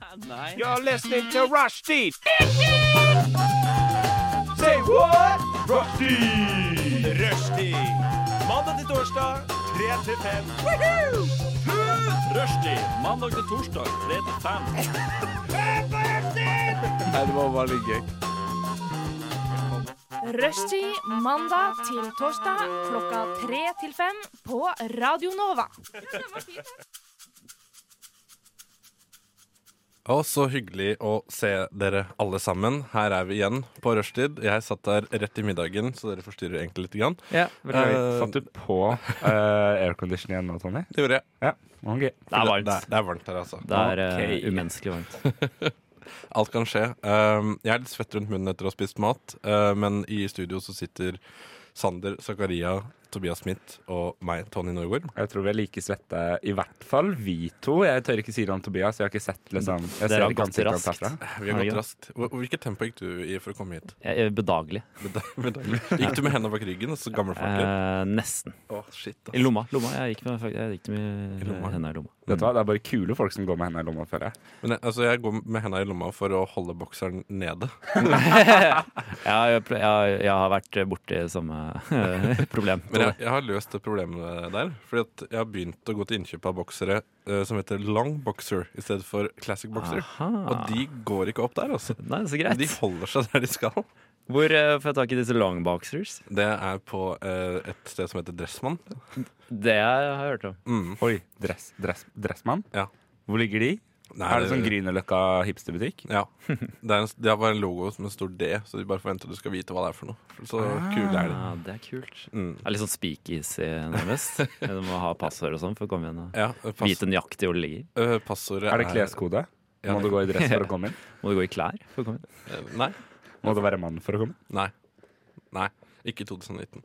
Nei. You're listening to Rushdie. Say what? Rushdie. Rushdie. Mandag til torsdag, 3 til 5. Rushdie. Mandag til torsdag, 3 til 5. Nei, det var veldig gøy. Rushtid mandag til torsdag klokka tre til fem på Radio Nova. Og så hyggelig å se dere alle sammen. Her er vi igjen på rushtid. Jeg satt der rett i middagen, så dere forstyrrer egentlig litt. Grann. Ja, Eh, beklager. Satt du på eh, aircondition igjen nå, Tony? Det gjorde jeg. Ja. ok. Det er varmt. Det, det er varmt her, altså. Det er eh, Ok. umenneskelig varmt. Alt kan skje. Um, jeg er litt svett rundt munnen etter å ha spist mat, uh, men i studio så sitter Sander, Zakaria, Tobias Smith og meg, Tony Norgård. Jeg tror vi er like svette, i hvert fall vi to. Jeg tør ikke si det om Tobias. Jeg har ikke sett liksom jeg Dere ser har ikke gått ansiktet hans raskt. herfra. Vi har Herregud. gått raskt. Hvor- Hvilket tempo gikk du i for å komme hit? Jeg- jeg er Bedagelig. Gikk du med hendene bak ryggen? Så gammel folk. Eh, nesten. Å, shit, ass. I lomma. lomma. Jeg gikk med, jeg gikk med I lomma. hendene i lomma. Vet du hva, Det er bare kule folk som går med hendene i lomma, føler jeg. Men jeg, altså, jeg går med hendene i lomma for å holde bokseren nede. Ja, jeg, ple- jeg, jeg har vært borti samme problem. Men jeg, jeg har løst det problemet der. Fordi at jeg har begynt å gå til innkjøp av boksere eh, som heter long boxer i stedet for classic boxer. Ah. Og de går ikke opp der, altså. Nei, så greit. De holder seg der de skal. Hvor eh, får jeg tak i disse longboxers? Det er på eh, et sted som heter Dressmann. Det har jeg hørt om. Mm. Oi, dress, dress, Dressmann? Ja. Hvor ligger de? Nei, er det sånn Grünerløkka hipsterbutikk? Ja. Det er, en, det er bare en logo som en stor D, så de bare forventer at du skal vite hva det er for noe. Så kule er de. Ja, Ah. Ah, det er kult. Mm. Det er litt sånn speakeasy, nærmest. Du må ha passord og sånn for å komme inn og Ja, pass, vite nøyaktig hvor det ligger. eh, passordet Er det kleskode? Ja, Må du gå i dress for å komme inn? Må du gå i klær for å komme inn? eh, Nei. Må du være mann for å komme inn? Nei. Nei. Ikke 2019.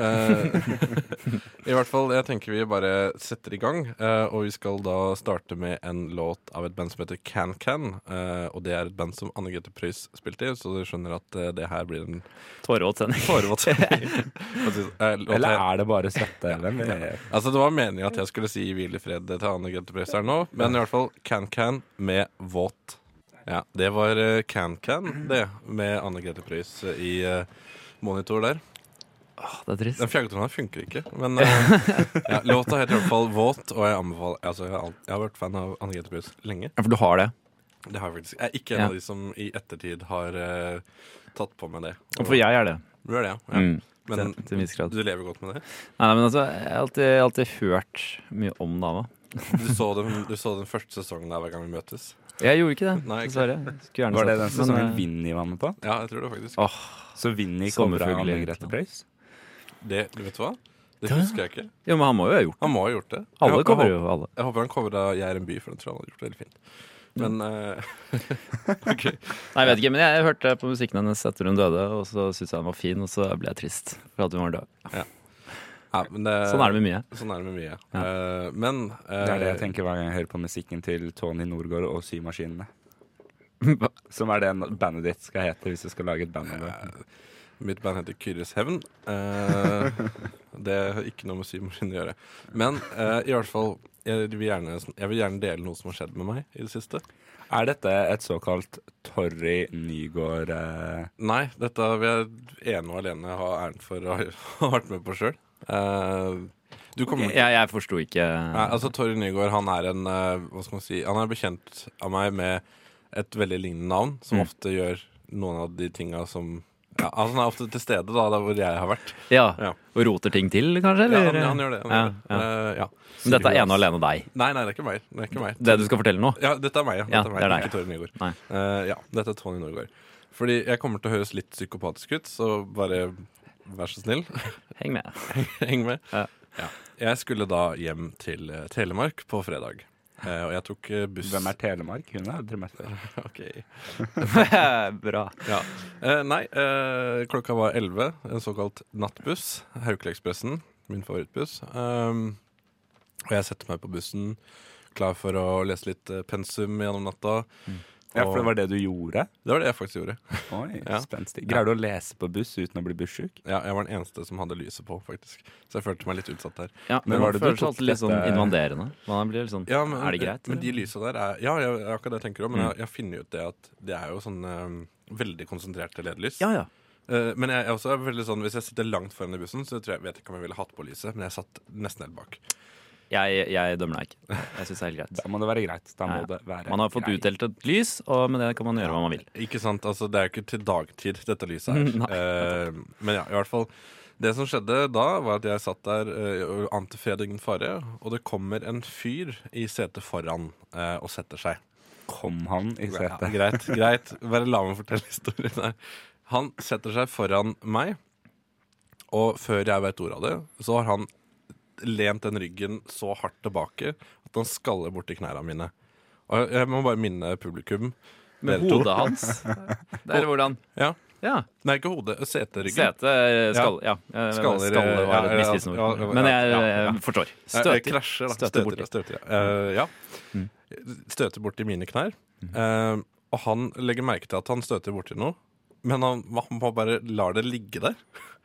Eh, I hvert fall, jeg tenker vi bare setter i gang. eh, og vi skal da starte med en låt av et band som heter Can Can. eh, og det er et band som Anne Grete Preus spilte i, så dere skjønner at eh, det her blir en Tårevåt sending. forevåt. Eller Eller er det bare svette? Ellen? eh, Altså, det var meningen at jeg skulle si hvil i fred til Anne Grete Preus her nå, men i hvert fall Can Can med Våt. Ja, det var eh, Can Can, det, med Anne Grete Preus eh, i eh, monitor der. Det er trist. Den fjerdetrommelen funker ikke, men eh, ja, låta heter i hvert fall Våt, og jeg anbefaler altså, jeg, har alt- jeg har vært fan av Anne Grete Preus lenge. Ja, for du har det. Det har jeg faktisk. Jeg er ikke en Ja. av de som i ettertid har eh, tatt på meg det. Og for jeg er det. Du er det, ja. ja. Mm. Men til- til en viss grad. du lever godt med det. Nei, nei, men altså, jeg har alltid, jeg har alltid hørt mye om dama. Du så den, du så den første sesongen der hver gang vi møtes. Jeg gjorde ikke det, Nei, ikke. dessverre. Skulle gjerne Var det sett den men, sesongen eh, Vinni var med på? Ja, jeg tror det faktisk. Åh, Så Vinni kommer fra Sommerfugler. Anne Grete Preus? Det, du vet hva? Det husker jeg ikke. jo, men han må jo ha gjort Han må ha gjort det. Alle Jeg- jeg kommer håper- jo, alle. Jeg håper han covra 'Jeg er en by', for den tror jeg han hadde gjort det veldig fint. Men eh, Nei, jeg vet ikke, men jeg hørte på musikken hennes etter hun døde, og så syntes jeg den var fin, og så ble jeg trist for at hun var død. ja, men det, Sånn er det med mye. Sånn er det med mye. Eh, men eh, Det er det jeg tenker hver gang jeg hører på musikken til Tony Norgård og Symaskinene. Hva? Som er det bandet ditt skal hete hvis du skal lage et band. om det. Mitt band heter Kyrres Hevn. Eh, det har ikke noe med symaskinen å gjøre. Men eh, i hvert fall jeg vil, gjerne, jeg vil gjerne dele noe som har skjedd med meg i det siste. Er dette et såkalt Torry Nygård eh, Nei, dette vil jeg ene og alene ha æren for å ha vært med på sjøl. du kommer Jeg, jeg forsto ikke Nei, altså Torry Nygaard han er en eh, Hva skal man si Han er bekjent av meg med et veldig lignende navn, som Mm. ofte gjør noen av de tinga som ja, altså, Han er ofte til stede da, der hvor jeg har vært. Ja, Ja. Og roter ting til, kanskje? Ja, Eller? eh, han, han gjør det. Han Ja, gjør ja. det. Eh, ja. Men dette er ene og alene deg. Nei, nei, det er ikke meg. Det er ikke meg. Det du skal fortelle nå? Ja, dette er meg, ja. Ja, Dette er meg, det er deg. Ikke Torry Nygaard. Nei. Eh, ja, dette er Tony Norgård. Fordi jeg kommer til å høres litt psykopatisk ut, så bare vær så snill, Heng med. heng med. Ja. Ja. Jeg skulle da hjem til eh, Telemark på fredag. Eh, og jeg tok eh, buss Hvem er Telemark? Hun er aldri mest før. Ok. Bra. Ja. Eh, nei, eh, klokka var 11. En såkalt nattbuss. Haukelekspressen, min favorittbuss. Um, Mm. og jeg setter meg på bussen, klar for å lese litt eh, pensum gjennom natta. Ja, for det var det du gjorde? Det var det jeg faktisk gjorde. Oi, Ja. spenstig. Greier du å lese på buss uten å bli bussjuk? Ja, jeg var den eneste som hadde lyset på, faktisk. Så jeg følte meg litt utsatt der. Ja, Men men var man det du føler seg tok alltid litt sånn dette- invaderende. Man blir litt sånn Ja, men, Er det greit? Men de eller? Mm. lysa der er Ja, jeg, jeg, er akkurat det jeg tenker òg, men jeg, jeg finner ut det at det er jo sånn eh, veldig konsentrerte ledelys. ja, ja. Eh, men jeg, er også veldig sånn, hvis jeg sitter langt foran i bussen, så tror jeg, vet jeg ikke om jeg ville hatt på lyset, men jeg satt nesten helt bak. Jeg, jeg dømmer deg ikke. Jeg syns det er helt greit. Da må det være greit. Da må Ja, ja. det være Man har fått greit. utdelt et lys, og med det kan man gjøre hva man vil. Ikke sant, altså Det er jo ikke til dagtid, dette lyset her. Nei, Eh, men ja, i hvert fall. Det som skjedde da, var at jeg satt der eh, og ante fred og ingen fare, og det kommer en fyr i setet foran eh, og setter seg. Kom han i Ja, setet? greit, greit. Bare la meg fortelle historien her. Han setter seg foran meg, og før jeg vet ordet av det, så har han lent den ryggen så hardt tilbake at han skaller borti knærne mine. Og jeg må bare minne publikum Med dere to. hodet hans. Det er hvordan Ja. Ja. Nei, ikke hodet. Seteryggen. Sete, skall Ja. eh, Skaller, Skalle var ja, et ja, misvisende ja, ja, ord. Men jeg ja, eh, ja. forstår. Eh, eh, Støter. Krasjer, da. Støter Støter, borti. Mm. borti. Støter, ja. Eh, ja. støter borti mine knær. Eh, og han legger merke til at han støter borti noe, men han, han bare lar det ligge der.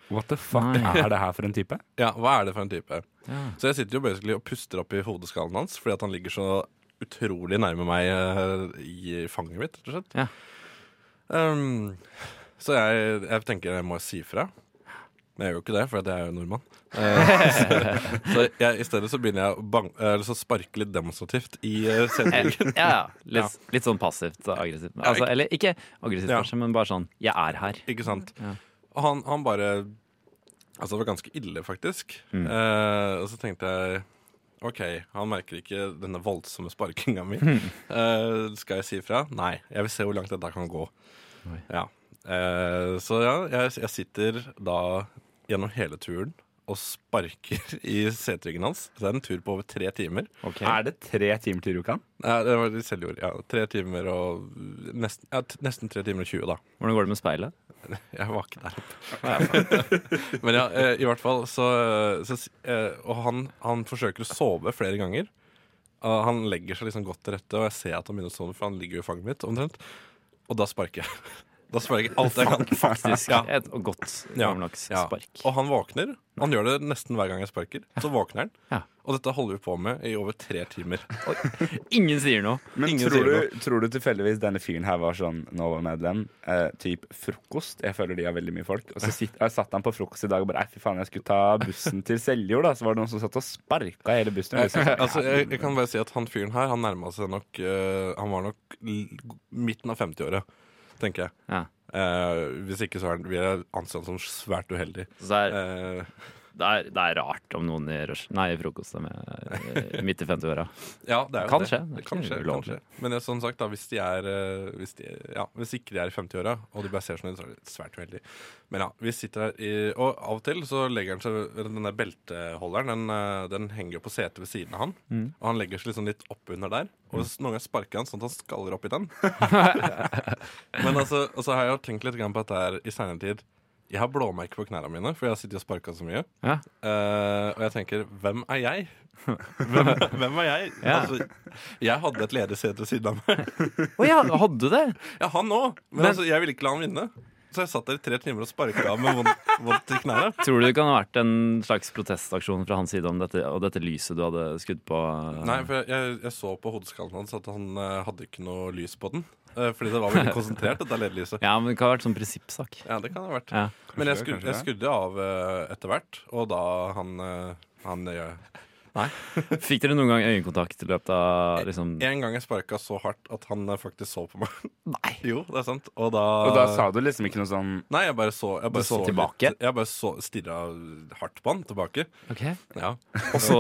What the fuck Nei. er det her for en type? Ja, hva er det for en type? Ja. Så jeg sitter jo basically og puster opp i hodeskallen hans fordi at han ligger så utrolig nærme meg eh, i fanget mitt, rett og slett. Ja. Um, så jeg, jeg tenker jeg må si fra. Men jeg gjør jo ikke det, for at jeg er jo nordmann. Eh, så så jeg, i stedet så begynner jeg å bang, eh, eller så sparke litt demonstrativt i uh, Eh, seteryggen. ja, ja. Litt, litt sånn passivt og aggressivt. Altså, eller ikke aggressivt, Ja. kanskje, men bare sånn 'jeg er her'. Ikke sant? Ja. Og han, han bare Altså, det var ganske ille, faktisk. Mm. Eh, og så tenkte jeg OK, han merker ikke denne voldsomme sparkinga mi. Eh, skal jeg si ifra? Nei. Jeg vil se hvor langt dette kan gå. Oi. Ja. Eh, så ja, jeg, jeg sitter da gjennom hele turen og sparker i seteryggen hans. Det er en tur på over tre timer. Ok. Er det tre timer til Rjukan? Nei, det var de selv gjorde. Ja, tre timer og nesten, ja, t- nesten tre timer og 20, da. Hvordan går det med speilet? Jeg var ikke der oppe. Men ja, eh, i hvert fall så, så s- eh, Og han, han forsøker å sove flere ganger. Og han legger seg liksom godt til rette, og jeg ser at han begynner å sove, for han ligger jo i fanget mitt omtrent. Og da sparker jeg. Da sparker jeg alt jeg kan. Faktisk Ja. et godt Ja. gammeldags Ja. spark. Og han våkner. Han gjør det nesten hver gang jeg sparker. Så våkner han. Ja. Og dette holder vi på med i over tre timer. Ingen sier noe. Men Ingen tror sier du, tror du tilfeldigvis denne fyren her var sånn Nova-medlem? Eh, typ frokost. Jeg føler de har veldig mye folk. Og så sitt, jeg satt han på frokost i dag og bare Nei, fy faen, jeg skulle ta bussen til Seljord, da. Så var det noen som satt og sparka hele bussen. Og liksom, sånn, Altså, jeg, jeg kan bare si at han fyren her, han nærma seg nok eh, Han var nok l midten av 50-åra, tenker jeg. Ja. Eh, hvis ikke så er han, vi er ansett som svært uheldig. Så det er, Eh, det, er, det er rart om noen i rush Nei, i frokost er med eh, midt i 50-åra. ja, det er jo Kan det. skje, det er Det kan ikke skje, kan skje. ulovlig. Men det, er som sagt, da, hvis de er eh, Hvis, de, ja, hvis ikke de er i 50-åra, og de bare ser sånn ut, så er det svært uheldig. Men ja, vi sitter her i Og av og til så legger han seg Den der belteholderen, den, eh, den henger jo på setet ved siden av han. Mm. Og han legger seg liksom litt oppunder der. Og s- noen ganger sparker han sånn at han skaller opp i den. Men altså, og så har jeg jo tenkt litt grann på dette her i seinere tid. Jeg har blåmerker på knærne mine, for jeg har sittet og sparka så mye. Ja. Eh, og jeg tenker, hvem er jeg? Hvem, hvem er jeg? Ja. Altså, jeg hadde et ledig sete ved siden av meg. Å ja, hadde du det? Ja, han òg, men, altså, jeg ville ikke la han vinne. Så jeg satt der i tre timer og sparka av med vondt, vondt i knærne. Tror du det kan ha vært en slags protestaksjon fra hans side om dette, og dette lyset du hadde skudd på? eh, Nei, for jeg, jeg, jeg så på hodeskallen hans at han eh, hadde ikke noe lys på den. eh, fordi det var veldig konsentrert, dette LED-lyset. Ja, men det kan ha vært sånn prinsippsak. Ja, det kan det ha vært. Ja. Men jeg, det, skud, kanskje jeg det. skudde av eh, etter hvert, og da han, eh, han eh, Fikk dere noen gang øyekontakt i løpet av liksom En gang jeg sparka så hardt at han eh, faktisk så på meg. Nei. Jo, det er sant. Og da, Og da sa du liksom ikke noe sånn Nei, jeg bare så jeg Du bare så så tilbake? Litt, jeg bare så, stirra hardt på han tilbake. Ok. Ja. Og så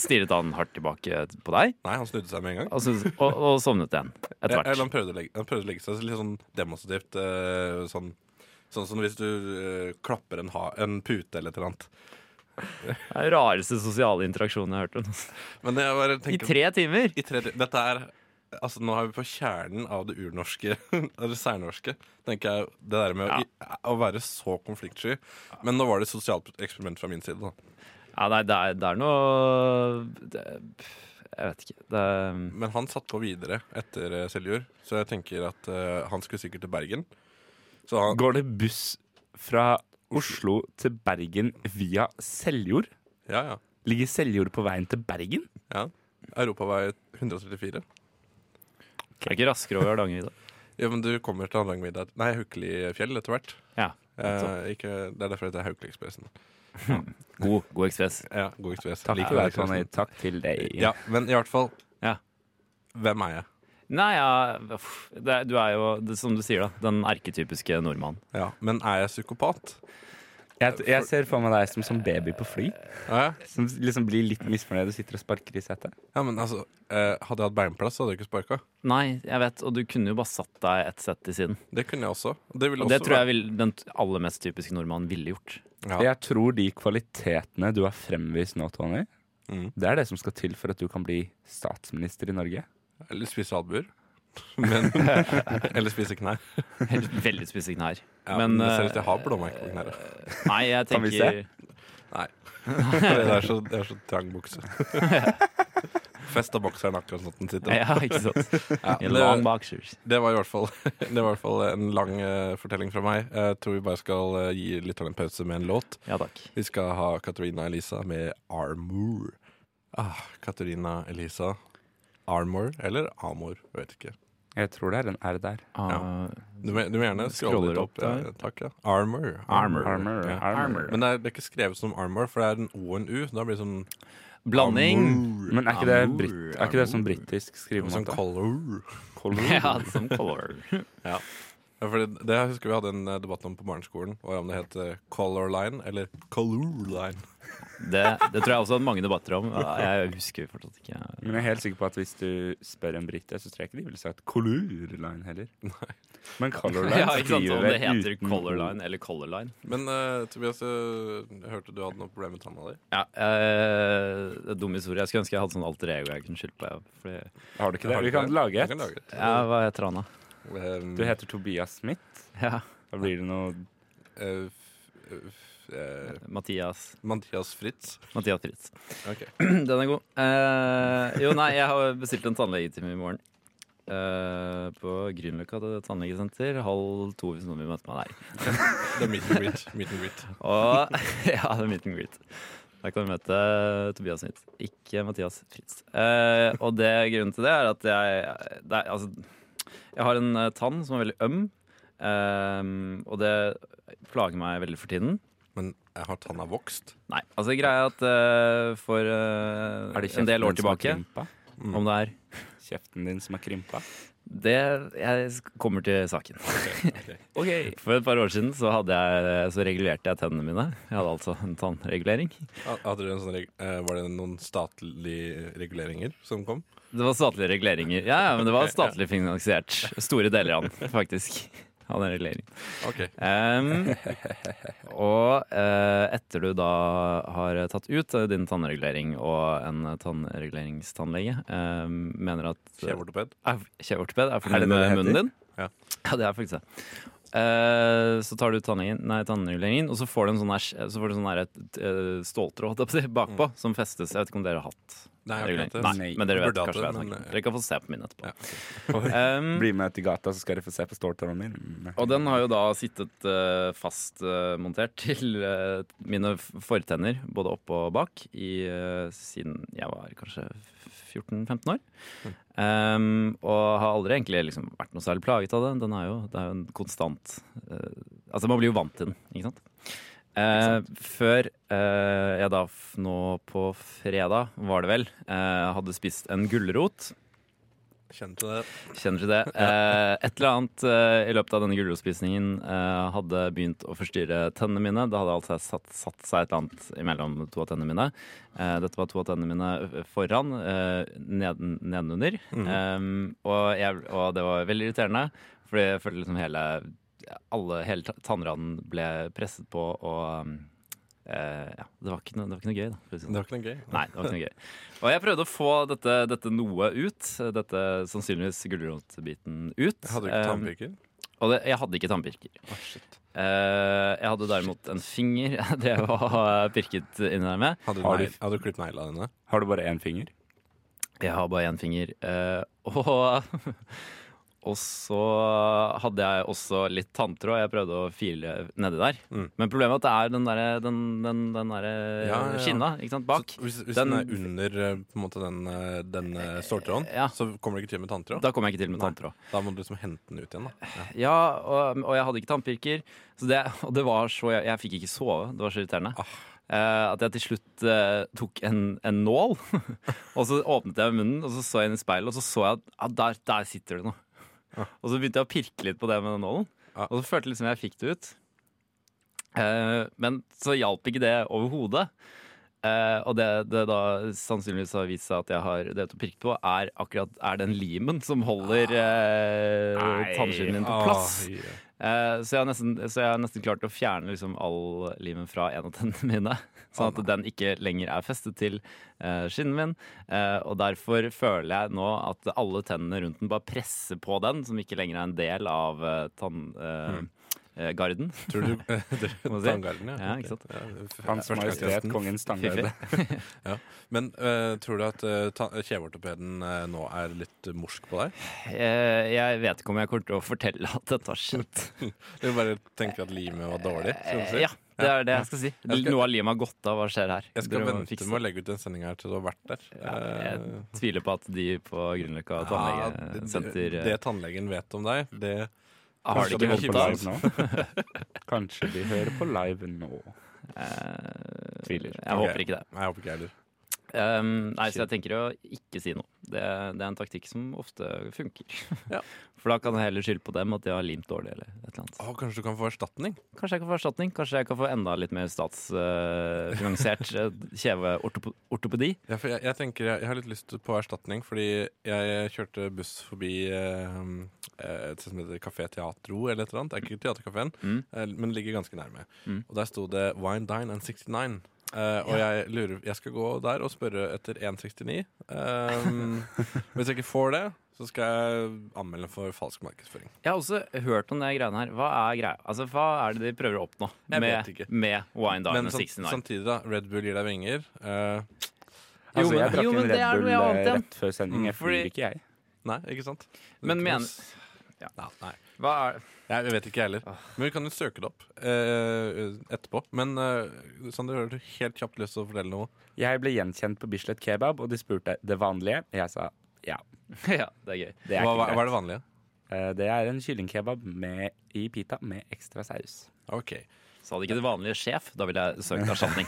stirret han hardt tilbake på deg, Nei, han snudde seg med en gang. og, syntes- og, og sovnet igjen etter Jeg- Eller hvert. han prøvde, å legge, han prøvde å legge seg litt sånn demonstrativt. eh, sånn, sånn som hvis du eh, klapper en, ha, en pute eller et eller annet. Det er den rareste sosiale interaksjonen jeg har hørt om. Men jeg bare I tenker tre timer! i tre- Dette er Altså, nå er vi på kjernen av det urnorske, eller særnorske, tenker jeg. Det der med å, å være så konfliktsky. Men nå var det et sosialt eksperiment fra min side, da. Ja, nei, det er, det er noe det, Jeg vet ikke. Det er, Men han satt på videre etter eh, Seljord, så jeg tenker at eh, han skulle sikkert til Bergen. Så han, Går det buss fra Oslo til Bergen via Seljord? ja, ja. Ligger Seljord på veien til Bergen? ja. Europavei 134. det er ikke raskere over Hardangervidda. Ja, men du kommer til Hardangervidda Nei, Haukelifjell etter hvert. Ja. Eh, ikke, det er derfor det heter Haukeliekspressen. God, god ekspress. Ja, god ekspress. Takk Liker for det, deg, Tony. Karsten. Takk til deg. Ja, men i hvert fall Ja. Hvem er jeg? Nei, ja uff, det, er- Du er jo, det, som du sier, da, den erketypiske nordmannen. Ja, men er jeg psykopat? Jeg, jeg ser for meg deg som, som baby på fly. Ja, ja. Som liksom blir litt misfornøyd og sitter og sparker i setet. ja men altså eh, Hadde jeg hatt beinplass, så hadde jeg ikke sparka. Nei, jeg vet, og du kunne jo bare satt deg ett sett til siden. Det kunne jeg også. Det ville Og det også tror jeg vil, den aller mest typiske nordmannen ville gjort. vært- ja. Jeg tror de kvalitetene du har fremvist nå, Tony, Mm. det er det som skal til for at du kan bli statsminister i Norge. Eller spise albuer. Men Eller spise knær. Helt veldig spisse knær. Ja, men, det ser ut eh, til jeg har blåmerker på knærne. Nei, jeg Kan vi tenker Nei. Fordi det er så, det er så trang bukse. Festa bokseren akkurat sånn at den sitter. Ja, ikke sant. Ja, I men lang det, boxers. det, var i hvert fall, det var i hvert fall en lang eh, fortelling fra meg. Jeg tror vi bare skal eh, gi lytterne en pause med en låt. Ja takk. Vi skal ha Katarina Elisa med 'Armour'. Ah, Katarina Elisa. Armor eller Amor, jeg vet ikke. Jeg tror det er en R der. Ah, Du må, du må gjerne Scroller scrolle litt opp. opp der. ja, takk, ja. Armor. Armor, Ja. armor. Men det er, det er ikke skrevet som armor, for det er en O og en U. Da blir det sånn Blanding. Armor. Men er ikke det, Armor, britt, er ikke det sånn armor. britisk Noe Sånn skrivemåte? color. Ja, som color. Ja, for det, det husker vi hadde en eh, debatt om på barneskolen, og om det het eh, color line eller color line. Det, det tror jeg også at mange debatter om. Jeg husker fortsatt ikke. Men jeg er helt sikker på at hvis du spør en brite, så tror jeg ikke de ville sagt Color Line heller. Men Color Line Ja, ikke sant, skriver Om det vel heter uten color O. line eller color line. Men eh, Tobias, eh, jeg hørte du hadde noe problem med tanna di. Ja, eh, det er en dum historie. Jeg skulle ønske jeg hadde sånn alter ego jeg kunne skyldt på. ja, Fordi, Har du ikke det? Har Vi kan lage Vi et. kan lage et. ja, hva heter han, da? Ehm, Du heter Tobias Smith. Ja, Da blir det noe eh, f- f- eh, Mathias, Mathias Fritz. Mathias Fritz. Ok. Den er god. Eh, jo, nei, jeg har bestilt en tannlegetime i morgen. Eh, på Grünerløkka det er et tannlegesenter. Halv to hvis noen vil møte meg der. Det er meet and greet. Meet and greet. Og ja, det er meet and greet. Der kan vi møte Tobias Smith, ikke Mathias Fritz. Eh, og det, grunnen til det er at jeg det er, Altså, jeg har en eh, tann som er veldig øm. eh, og det plager meg veldig for tiden. Men jeg har tanna vokst. Nei, altså greia er at eh, for eh, Er Mm. det en del kjeften år din som har tilbake krympa? Om det er Kjeften din som er krympa? Det jeg sk- kommer til saken. Ok. For et par år siden så, hadde jeg, så regulerte jeg tennene mine. Jeg hadde altså en tannregulering. Ha- Hadde dere en sånn, reg- eh, var det noen statlige reguleringer som kom? Det var statlige reguleringer. Ja, ja, men det var statlig finansiert. Store deler av den, faktisk. Av den reguleringen. Ok. Em, og eh, etter du da har tatt ut eh, din tannregulering, og en tannreguleringstannlege em, mener at Kjeveortoped. er, kjeveortoped er Er det fornøyd det det med heter? munnen din. Ja. ja, det er faktisk det. Eh, så tar du tannlegen- nei, tannreguleringen, og så får du en sånn, her, så får du en sånn her, et, eh, ståltråd holdt jeg på å si, bakpå som festes. Jeg vet ikke om dere har hatt Nei, jeg har ikke regulering. hatt det. Nei, men dere vet Burde hatt kanskje hva det, jeg men, snakker om. eh, Dere kan få se på min etterpå. Ja. Em, Bli med ut i gata, så skal dere få se på ståltråden min. Mm. Mm. og den har jo da sittet eh, fast fastmontert til eh, mine f- fortenner, både opp og bak, i, eh, siden jeg var kanskje 14-15 år. Hm. Um, og har aldri egentlig liksom vært noe særlig plaget av det. Den er jo, det er jo en konstant eh, Altså, man blir jo vant til den, ikke sant? Eh, før eh, jeg da f nå på fredag, var det vel, eh, hadde spist en gulrot. Kjente det. Kjenner ikke det. Eh, et eller annet eh, i løpet av denne gulrotspisningen eh, hadde begynt å forstyrre tennene mine. Det hadde altså satt, satt seg et eller annet imellom to av tennene mine. Eh, dette var to av tennene mine foran, eh, neden, nedenunder. Eh, og, jeg, og det var veldig irriterende, fordi jeg følte liksom hele, alle, hele ta- tannraden ble presset på, og eh, ja, det, var ikke noe, det var ikke noe gøy, da. For å si det Det var ikke noe gøy. Nei, det var ikke noe gøy. Og jeg prøvde å få dette, dette noe ut. Dette sannsynligvis gulrotbiten ut. Hadde du ikke Eh, tannpirker? og det, jeg hadde ikke tannpirker. Eh, jeg hadde derimot en finger jeg drev og pirket inni der med. Hadde du, Har du- nei, hadde du klippet negla dine? Har du bare én finger? Jeg har bare én finger. Eh, og, og så hadde jeg også litt tanntråd jeg prøvde å file nedi der. Mm. Men problemet er at det er den derre den, den, den derre Ja, ja, ja. skinna ikke sant, bak. Så Hvis, hvis Den- den, er under eh, på en måte den, eh, den eh, ståltråden, Ja. så kommer du ikke til med tanntråd? Da, Da kom jeg ikke til med tanntråd. må du liksom hente den ut igjen, da. Ja. Ja, og, og jeg hadde ikke tannpirker. Så det, og det var så jeg, jeg fikk ikke sove. Det var så irriterende. Eh, at jeg til slutt eh, tok en, en nål, og så åpnet jeg munnen, og så så jeg inn i speilet, og så så jeg at ah, der, der sitter det noe. Og så begynte jeg å pirke litt på det med den nålen, Ja. og så følte jeg liksom jeg fikk det ut. Eh, men så hjalp ikke det overhodet. Eh, og det det da sannsynligvis har vist seg at jeg har det å pirke på, er akkurat er den limen som holder eh, tannskinnet min på plass. Ah, ja. Eh, så, jeg har nesten, så jeg har nesten klart å fjerne liksom all limen fra en av tennene mine. Sånn at den ikke lenger er festet til eh, skinnen min. Eh, og derfor føler jeg nå at alle tennene rundt den bare presser på den, som ikke lenger er en del av eh, Mm. tanngarden. Eh, garden. Tror du Må si. Tanngarden, ja. Ja, ikke sant? Ja, f- Hans første Majestet klassen. Kongens Stangarde. Men eh, tror du at eh, ta- kjeveortopeden eh, nå er litt morsk på deg? Eh, jeg vet ikke om jeg kommer til å fortelle at dette har skjedd. Du bare tenker at limet var dårlig? Skal vi Eh, si? ja, det er det jeg skal si. Jeg skal- Noe av limet har gått av. Hva skjer her? Jeg skal Dere må vente fikse med å legge ut den sendinga her til du har vært der. Ja, Eh, jeg tviler på at de på Grünerløkka ja, det, tannlegesenter eh, det tannlegen vet om deg, det har det skal de ikke holde hører på på hytta. live nå? Kanskje de hører på live nå. Eh, Tviler. Jeg Ok. håper ikke det. Nei, jeg håper ikke jeg heller. Um, nei, så jeg tenker å ikke si noe. Det, det er en taktikk som ofte funker. Ja. For da kan jeg heller skylde på dem at de har limt dårlig eller et eller annet. Å, kanskje du kan få erstatning? Kanskje jeg kan få erstatning? Kanskje jeg kan få enda litt mer eh, statsfinansiert kjeveortopedi? Ja, for jeg, jeg tenker jeg, jeg har litt lyst på erstatning, fordi jeg kjørte buss forbi eh, eh, et sted som heter Café Teatro, eller et eller annet. Det er ikke Teatercaféen, Mm. eh, men ligger ganske nærme. Mm. Og der sto det Wine, Dine and 69. Eh, og jeg lurer Jeg skal gå der og spørre etter 169. Eh, hvis jeg ikke får det, så skal jeg anmelde for falsk markedsføring. Jeg har også hørt om de greiene her. Hva er greia? Altså, hva er det de prøver å oppnå Jeg med, vet ikke. med Wine Dine men sånn- sam- 69? samtidig, da. Red Bull gir deg vinger. Eh, Altså, men- jeg drakk jo, men en det er Red noe Bull jeg annet eh, igjen. rett før sending. Jeg fordi- flyr ikke, jeg. nei, ikke sant? Men Ikke noe men- s- Ja. Ja, nei. Hva er Jeg, jeg vet ikke, jeg heller. Men vi kan jo søke det opp eh, etterpå. Men eh, Sander, har du helt kjapt lyst til å fortelle noe? Jeg ble gjenkjent på Bislett Kebab, og de spurte det vanlige. Jeg sa ja. Ja, det er gøy. Det er Hva, hva, hva ikke greit. er det vanlige? Eh, Det er en kyllingkebab med- i pita med ekstra saus. Ok. Sa det ikke det vanlige sjef, da ville jeg søkt erstatning.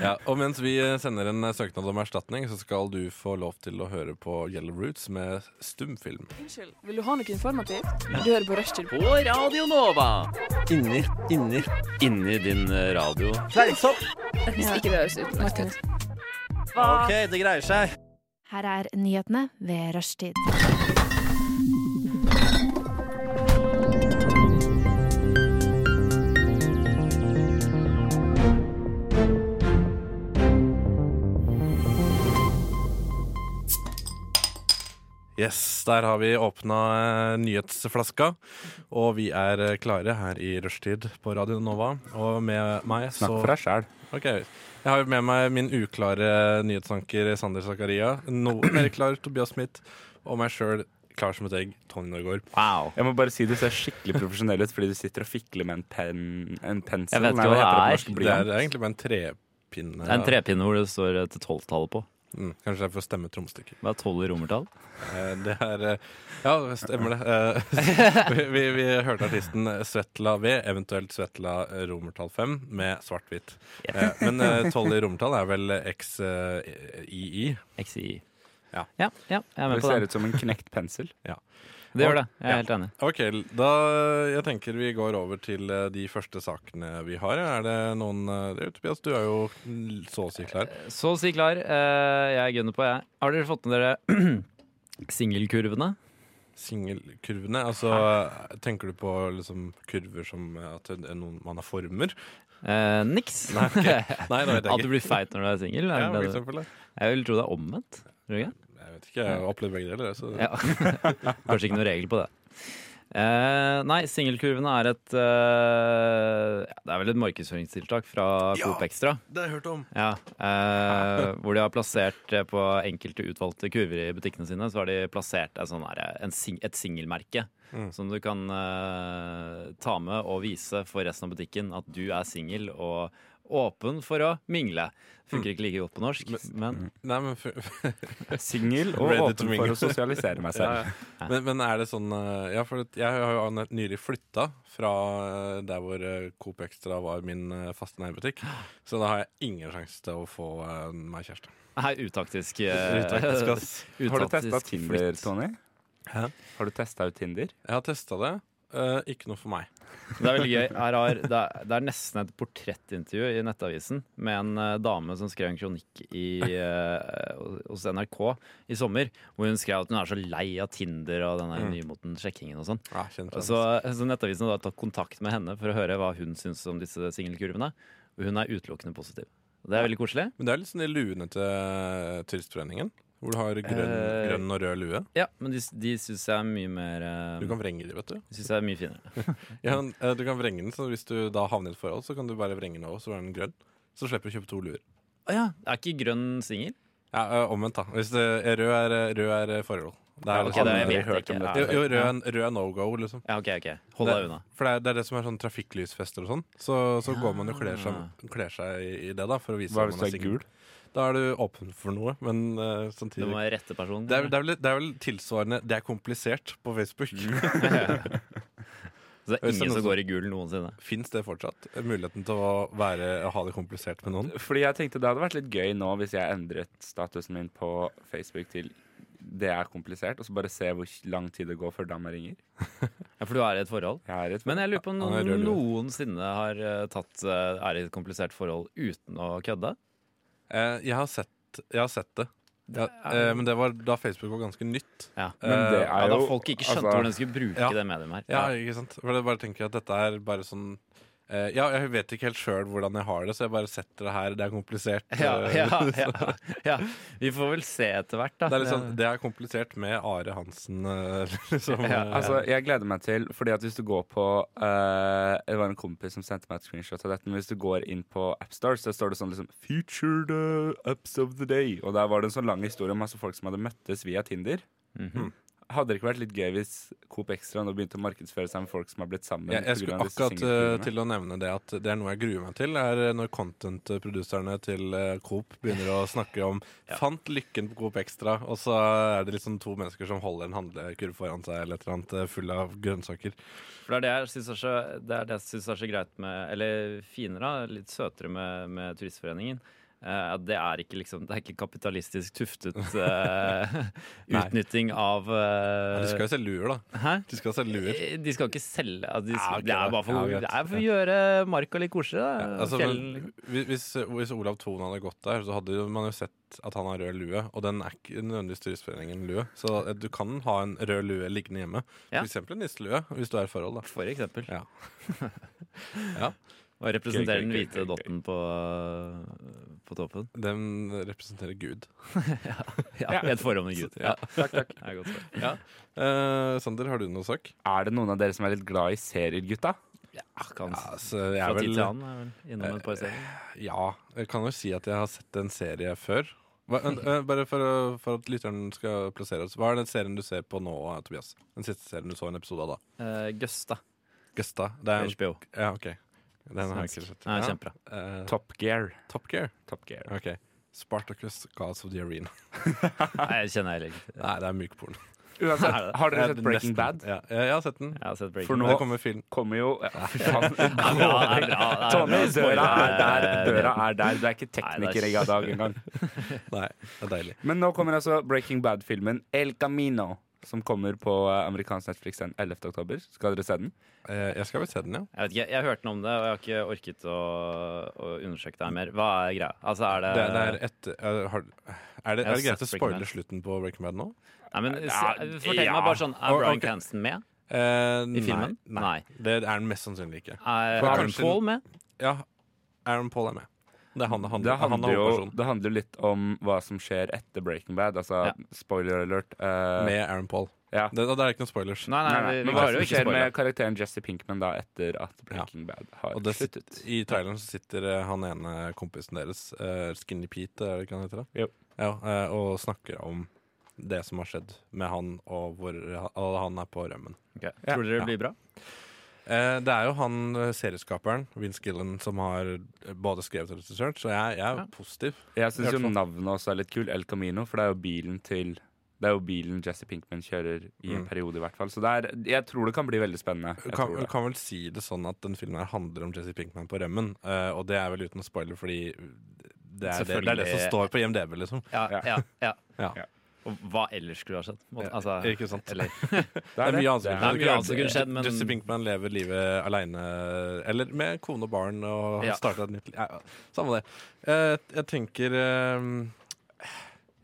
Ja, og mens vi eh, sender en eh, søknad om erstatning, så skal du få lov til å høre på Yellow Roots med stumfilm. Unnskyld, vil du ha noe informativt? Du hører på Rushtid. På Radio Nova. Inni, inni. Inni din radio. Hvis ikke det høres ut. Martin. OK, det greier seg. Her er nyhetene ved rushtid. Yes, der har vi åpna eh, nyhetsflaska. Og vi er eh, klare her i rushtid på Radio Nova. Og med meg så Snakk for deg sjæl. Ok, Jeg har med meg min uklare nyhetsanker Sander Zakaria. Noe mer klar Tobias Smith. Og meg sjøl klar som et egg, Tony Norgård. Wow. Jeg må bare si du ser skikkelig profesjonell ut fordi du sitter og fikler med en, pen, en pensel. Jeg vet Nei, ikke hva heter på det er. norsk? Det er Blyant. egentlig bare en trepinne. Det er en trepinne hvor det står et tolvtallet på. Mm, kanskje det er for å stemme trommestykker. Hva er tolv i romertall? Eh, Det er eh, Ja, det stemmer det. Eh, Vi, vi, vi hørte artisten Svetla V, eventuelt Svetla eh, romertall 5, med svart-hvitt. Yep. Eh, Men eh, 12 i romertall er vel eh, XII. XI. Ja. ja, ja, jeg er med Det på ser det. ut som en knekt pensel. Det gjør det. Jeg Ja. er helt enig. Ok, da jeg tenker vi går over til eh, de første sakene vi har. Er det noen eh, det er jo Tobias, du er jo l- så å si klar. Så å si klar. Eh, Jeg gunner på, jeg. Har dere fått med dere singelkurvene? Singelkurvene. Altså, eh, tenker du på liksom kurver som eh, at det er noen man har former? Eh, niks. Nei, ok. Nei, det At vet jeg du ikke. blir feit når du er singel? Ja, er liksom. for det det du- eksempel, da. Jeg vil tro det er omvendt. Tror du ikke? jeg vet ikke, jeg har opplevd begge deler. Så. Ja. Kanskje ikke noen regel på det. Eh, nei, singelkurvene er et eh, ja, Det er vel et markedsføringstiltak fra Ja. Coop Extra. Det har jeg hørt om. Ja, eh, hvor de har plassert det på enkelte utvalgte kurver i butikkene sine. Så har de plassert en sånn her, en sing, et singelmerke Mm. som du kan eh, ta med og vise for resten av butikken at du er singel og åpen for å mingle. Funker ikke like godt på norsk, men Nei, Mm. men, for, Singel og Ready to åpen for mingle. å sosialisere meg ja, selv. ja. Men, men er det sånn eh, Ja, for jeg har jo an- nylig flytta fra eh, der hvor eh, Coop Extra var min eh, faste nærbutikk. Så da har jeg ingen sjanse til å få eh, meg kjæreste. her utaktisk. eh, Utaktisk, ass. Har du utaktisk testa Tinder, flytt. Tony? Hæ? Har du testa ut Tinder? Jeg har testa det. Eh, ikke noe for meg. Det er veldig gøy. Her har, det, er, det er nesten et portrettintervju i Nettavisen med en eh, dame som skrev en kronikk i, eh, hos NRK i sommer, hvor hun skrev at hun er så lei av Tinder og den der nymoten sjekkingen og sånn. Ja, kjent, Så, så Nettavisen har da tatt kontakt med henne for å høre hva hun syns om disse singelkurvene. Og hun er utelukkende positiv. Det er veldig koselig. Men det er litt sånn i luene til eh, Turistforeningen. Hvor du har grønn, Eh, grønn og rød lue. Ja, men de, de syns jeg er mye mer eh, Du kan vrenge de, vet du. de synes jeg er mye finere. Ja, men, eh, du kan vrenge den, så Hvis du da havner i et forhold, så kan du bare vrenge den over, så er den grønn. Så slipper du å kjøpe to luer. Å ja, er ikke grønn singel? Ja, eh, Omvendt, da. Hvis det er rød, er, eh, rød er eh, forhold. Det Ja, ok, det er, sånn- er- Aldri jeg vet hørt om ikke. dette. jo, jo, rød, er- rød er no go, liksom. Ja, OK, ok. Hold deg unna. For det er, det er det som er sånn trafikklysfester og sånn. Så, så går man og kler seg, kler seg i- i det, da, for å vise Hva at hvis man du er single. gul? Da er du åpen for noe, men eh, Du samtidig må være rette person. det er, det, er vel, det er vel tilsvarende 'det er komplisert' på Facebook. Så det Hvis er det er ingen som sånn noen går i gul noensinne. Fins det fortsatt? Muligheten til å, være, å ha det komplisert med noen? Fordi jeg tenkte det hadde vært litt gøy nå hvis jeg endret statusen min på Facebook til det er komplisert, og så bare se hvor lang tid det går før dama ringer. Ja, For du er i et forhold? Jeg er et Men jeg lurer på om Ja, han er noen rød lue. noensinne har eh, tatt eh, er i et komplisert forhold uten å kødde. Eh, jeg, har sett, jeg har sett det. Ja, eh, men det var da Facebook var ganske nytt. Ja. Men det Eh, er eh, ja, da jo- folk ikke skjønte altså- hvordan de skulle bruke Ja. det mediumet Ja, her. ikke sant? For jeg bare tenker at dette er bare sånn eh, Ja, jeg vet ikke helt sjøl hvordan jeg har det, så jeg bare setter det her. Det er komplisert. Ja, eh, ja, ja, ja. Vi får vel se etter hvert, da. Det er litt sånn, det er komplisert med Are Hansen, eh, liksom. Ja, eh, Altså, jeg gleder meg til Fordi at hvis du går på eh, Det var en kompis som sendte meg et screenshot av dette Men hvis du går inn på AppStar Så står det sånn liksom Featured eh, apps of the day Og der var det en sånn lang historie om masse folk som hadde møttes via Tinder Hmm. Mhm. Hadde det ikke vært litt gøy hvis Coop Extra nå begynte å markedsføre seg med folk som har blitt sammen jeg, jeg på grunn skulle av disse akkurat eh, singelfilmene? til å nevne det at det er noe jeg gruer meg til, er eh, når content-produserne til eh, Coop begynner å snakke om 'fant lykken på Coop Extra', og så er det liksom to mennesker som holder en handlekurv foran seg eller et eller annet eh, full av grønnsaker. For det er det jeg syns er, så- det er, det jeg synes er så greit med Eller finere, da, litt søtere med, med Turistforeningen. eh, at det er ikke liksom Det er ikke kapitalistisk tuftet eh, Nei. utnytting av eh, De skal jo selge luer, da. Hæ? De skal selge luer. De skal ikke selge altså, de, Ja, ok, Det da. er bare for, Ja, greit. det er for å gjøre marka litt koselig. Da. Altså, Fjell- men, hvis, hvis- hvis Olav Thon hadde gått der, så hadde jo- man jo sett at han har rød lue. Og den er ikke nødvendigvis Turistforeningen-lue, så eh, du kan ha en rød lue liggende hjemme. Ja. For eksempel en nisselue, hvis du er i forhold. da for eksempel. Ja. Ja. Og representere Gøy, gøy, den gøy, hvite gøy, gøy. dotten på, øh, på toppen. Den representerer Gud. Ja, I et forhold med Gud. Ja. Takk, takk Det er godt svar. Eh, Sander, har du noe sak? Er det noen av dere som er litt glad i serier, gutta? Ja, Ah, kan, altså, jeg, fra er tid vel, til annen er jeg vel innom et par serier. ja, jeg kan jo si at jeg har sett en serie før. Hva, en- eh, bare for, å- for at lytteren skal plassere oss. Hva er den serien du ser på nå, eh, Tobias? Den siste serien du så en episode av, da? Eh, Gøsta. Gøsta. Det er en, HBO. ja, ok Den har jeg ikke sett. Nei, Ja. kjempebra. Eh, Top Gear Top Gear? Top Gear Ok. Spartacus, Gods of the Arena. Nei, jeg kjenner heller ikke til. Nei, det er mykporn. Uansett, har dere sett Breaking Bad? Ja, jeg, jeg har sett den. Jeg har sett For Breaking nå- Det kommer film. Kommer jo ja, fy faen. Bad. Det er bra, det er bra, det er Tommy, bra spoiler. døra er der, døra er der. Du er ikke Nei, det tekniker er i dag engang. Nei, det er deilig. Men nå kommer altså Breaking Bad-filmen El Camino, som kommer på eh, amerikansk Netflix den 11. oktober. Skal dere se den? Eh, jeg skal vel se den, ja. Jeg vet ikke, jeg hørte noe om det, og jeg har ikke orket å, å undersøke det her mer. Hva er greia? Altså, er det, Det, det er et eh, har, Er det, Jeg har er det greit sett å spoile Breaking slutten på Breaking Bad nå? Nei, men s- Ja, Fortell ja. meg bare sånn, er Bryan Ok. Cranston med? Eh, I filmen? Nei. Nei. Det er den mest sannsynlig ikke. Er For Aaron kanskje- Paul med? Ja, Aaron Paul er med. Det er han det handler, Det han handler er jo hovedpersonen. det handler jo litt om hva som skjer etter Breaking Bad. Altså Ja. spoiler alert. eh, Med Aaron Paul. Ja. Det, da, det er ikke noen spoilers. Nei, nei, Nei, nei, vi- vi Men hva klarer jo ikke skjer spoile. med karakteren Jesse Pinkman da etter at Breaking Bad har Og det sit, sluttet? I traileren så sitter eh, han ene kompisen deres, eh, Skinny Pete, er det ikke han heter? da? Jo. Ja, eh, og snakker om det som har skjedd med han, og hvor og han er på rømmen. Ok. Tror dere Ja. det blir bra? Eh, det er jo han eh, serieskaperen, Vince Gillen, som har eh, både skrevet og regissert, så jeg, jeg er Ja. positiv. Jeg syns I jo hvert fall. navnet også er litt kul. El Camino, for det er jo bilen til Det er jo bilen Jesse Pinkman kjører i en Mm. periode, i hvert fall. Så det er, jeg tror det kan bli veldig spennende. Du Jeg kan, tror du det. kan vel si det sånn at den filmen her handler om Jesse Pinkman på rømmen, eh, og det er vel uten spoiler, fordi det er det, det er det Selvfølgelig. som står på IMDb, liksom. Ja, ja, ja. Ja. Og hva ellers skulle ha skjedd? Må- Altså, Ikke sant? eller, Det er mye annet som Det er det er mye kunne skjedd. annet som kunne skjedd, men- Jesse Pinkman lever livet aleine, eller med kone og barn, og Ja. starter et nytt liv. Ja, samme det. Eh, jeg tenker eh,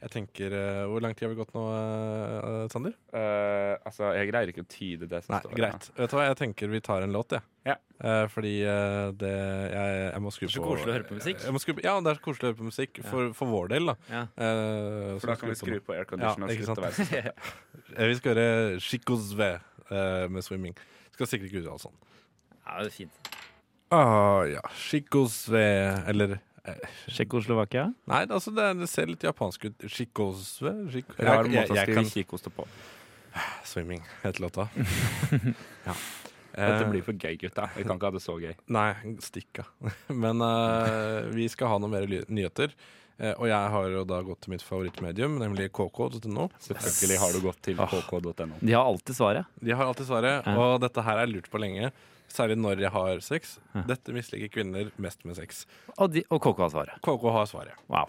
Jeg tenker eh, Hvor lang tid har vi gått nå, eh, Sander? Eh, altså, jeg greier ikke å tyde det som Nei, står greit. Vet du hva, jeg tenker vi tar en låt, jeg. Ja. Eh, fordi eh, det jeg, jeg må skru Det på er så koselig å høre på musikk. Jeg må skru, på- ja, det er så koselig å høre på musikk. For, for vår del, da. Ja. Eh, så For da kan vi skru på aircondition Ja, og ikke slutte å være sånn. så Eh, Vi skal høre Chikozve eh, med 'Swimming'. Skal sikkert ikke uttale sånn. ja, det er fint. Ah, ja. Chikosve Eller Tsjekkoslovakia? Nei, altså det, er- det ser litt japansk ut. Chikosve Chik rar måte å jeg skrive kan kikoste på. Swimming heter låta. ja. Dette Eh, blir for gøy, gutta. Vi kan ikke ha det så gøy. Nei, stikk av. Men eh, vi skal ha noen mer ly- nyheter. Eh, og jeg har jo da gått til mitt favorittmedium, nemlig kk.no. Selvfølgelig har du gått til kk.no. De har alltid svaret. De har alltid svaret, Ja. og dette her er lurt på lenge. Særlig når jeg har sex. Ja. Dette misliker kvinner mest med sex. Og, de, og KK har svaret. KK har svaret. Wow.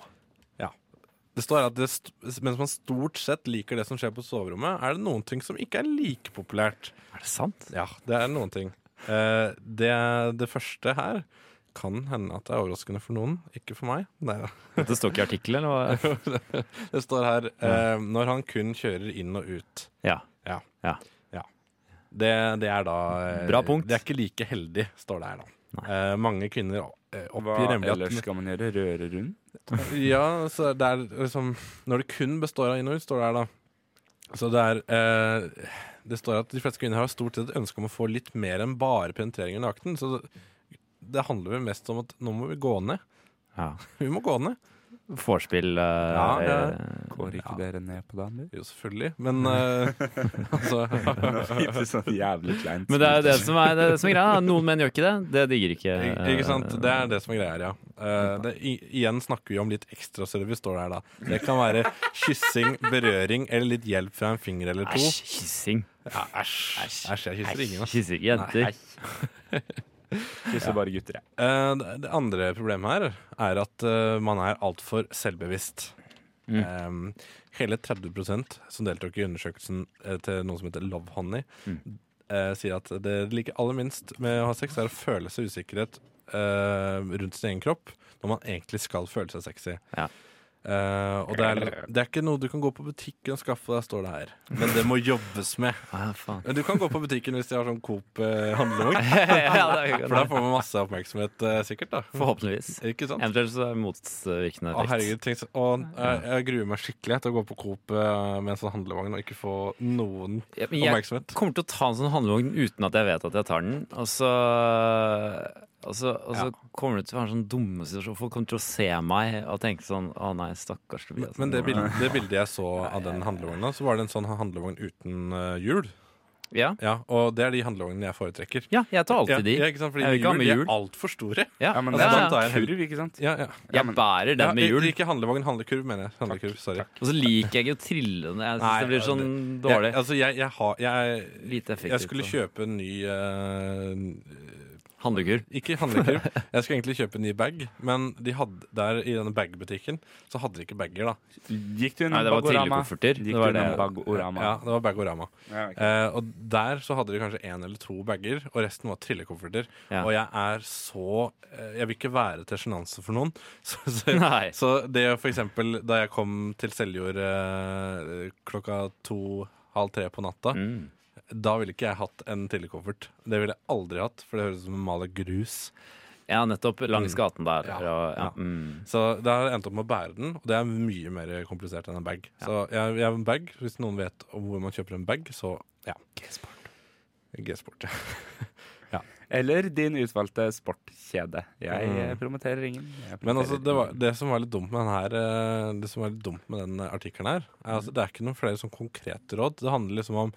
Det står at det st mens man stort sett liker det som skjer på soverommet, er det noen ting som ikke er like populært. Er det sant? Ja, det er noen ting. Eh, det, det første her kan hende at det er overraskende for noen, ikke for meg. Nei, da. Dette står ikke i artikkelen, eller hva? det står her eh, når han kun kjører inn og ut. Ja. Ja. Ja. Ja. Det, det er da eh, Bra punkt. Det er ikke like heldig, står det her da. Eh, mange kvinner eh, Hva oppgir nemlig at ellers skal man gjøre? Røre rundt? Mm, Ja, så det er liksom Når det kun består av inn og ut, står det her, da. Så det er eh, Det står at de fleste kvinner har stort sett et ønske om å få litt mer enn bare penetrering under akten. Så det handler vel mest om at nå må vi gå ned. ja. Vi må gå ned. Vorspiel eh, Ja, ja. eh, Går ikke Ja. dere ned på det, eller? Jo, selvfølgelig, men eh, altså Ikke sånn jævlig kleint. Men det er jo det som er, det er, det som er greia. da. Noen menn gjør ikke det. Det digger ikke eh, Ikke sant? Det er det som er greia her, ja. Eh, det, i, igjen snakker vi om litt ekstraservice, står det her da. Det kan være kyssing, berøring eller litt hjelp fra en finger eller to. Æsj, kyssing. Ja, æsj. Æsj, jeg kysser ingen. ass. Kyssing jenter. Kysser bare gutter, jeg. Eh, det det andre problemet her er at eh, man er altfor selvbevisst. Mm. Eh, hele 30 som deltok i undersøkelsen eh, til noe som heter Love Honey, Mm. eh, sier at det de liker aller minst med å ha sex, er å føle seg usikkerhet eh, rundt sin egen kropp når man egentlig skal føle seg sexy. Ja. Eh, og det er, det er ikke noe du kan gå på butikken og skaffe deg, står det her. Men det må jobbes med. Ah, faen. Men du kan gå på butikken hvis de har sånn Coop-handlevogn. ja, det Mm. er For da godt. får man masse oppmerksomhet, eh, sikkert. da Forhåpentligvis. Ikke sant? Eventuelt så er det motvirkende Å, effekt. herregud, tenk så, å, Mm. jeg, jeg gruer meg skikkelig til å gå på Coop eh, med en sånn handlevogn og ikke få noen Ja, men jeg oppmerksomhet. kommer til å ta en sånn handlevogn uten at jeg vet at jeg tar den. Og så, og så, og så Ja. kommer det til å være en sånn dumme situasjon. Folk kommer til å se meg og tenke sånn Å nei, stakkars Tobias. Men det bildet, det bildet jeg så av den handlevogna, så var det en sånn handlevogn uten eh, hjul. Ja. Ja, og det er de handlevognene jeg foretrekker. ja, jeg tar alltid de. Ja, ja, ikke sant? Fordi Jeg vil ikke ha hjul, med de hjul. er altfor store. Ja, Ja, men altså, ja, det sånn tar er jeg sånn en- kurv, ikke sant? Ja, ja. Ja, Jeg men- bærer den med Ja, hjul. Ikke handlevogn, handlekurv, mener jeg. Handlekurv, sorry. takk. Og så liker jeg ikke å trille den. Jeg syns Nei, det blir sånn Jeg, dårlig. altså, jeg, jeg har jeg, Lite effektivt. jeg skulle kjøpe en ny eh, Handlekurv. Ikke handlekurv. Jeg skulle egentlig kjøpe en ny bag, men de hadde, der i denne bagbutikken så hadde de ikke bager, da. Gikk du Nei, innom det var Bagorama? trillekofferter. Gikk Det du var det. innom Bagorama? Ja, det var Bagorama. Ja, ok. Eh, og der så hadde de kanskje én eller to bager, og resten var trillekofferter. Ja. Og jeg er så eh, Jeg vil ikke være til sjenanse for noen. Så, så, Nei. så det å for eksempel da jeg kom til Seljord eh, klokka to, halv tre på natta, Mm. da ville ikke jeg hatt en trillekoffert. Det ville jeg aldri hatt, for det høres ut som å male grus. Ja, nettopp. Langs gaten der. Mm. Ja. Og, ja. Ja. Mm. Så det har endt opp med å bære den, og det er mye mer komplisert enn en bag. Så jeg, jeg har en bag, Hvis noen vet om hvor man kjøper en bag, så ja. G-sport. G-sport, ja. Eller din utvalgte sportkjede. Jeg eh, Mm. promoterer ingen. Jeg Men altså, promoterer det, var, ingen. det som var litt dumt med den her eh, Det som var litt dumt med den eh, artikkelen her, er altså, det er ikke noen flere sånn konkrete råd. Det handler liksom om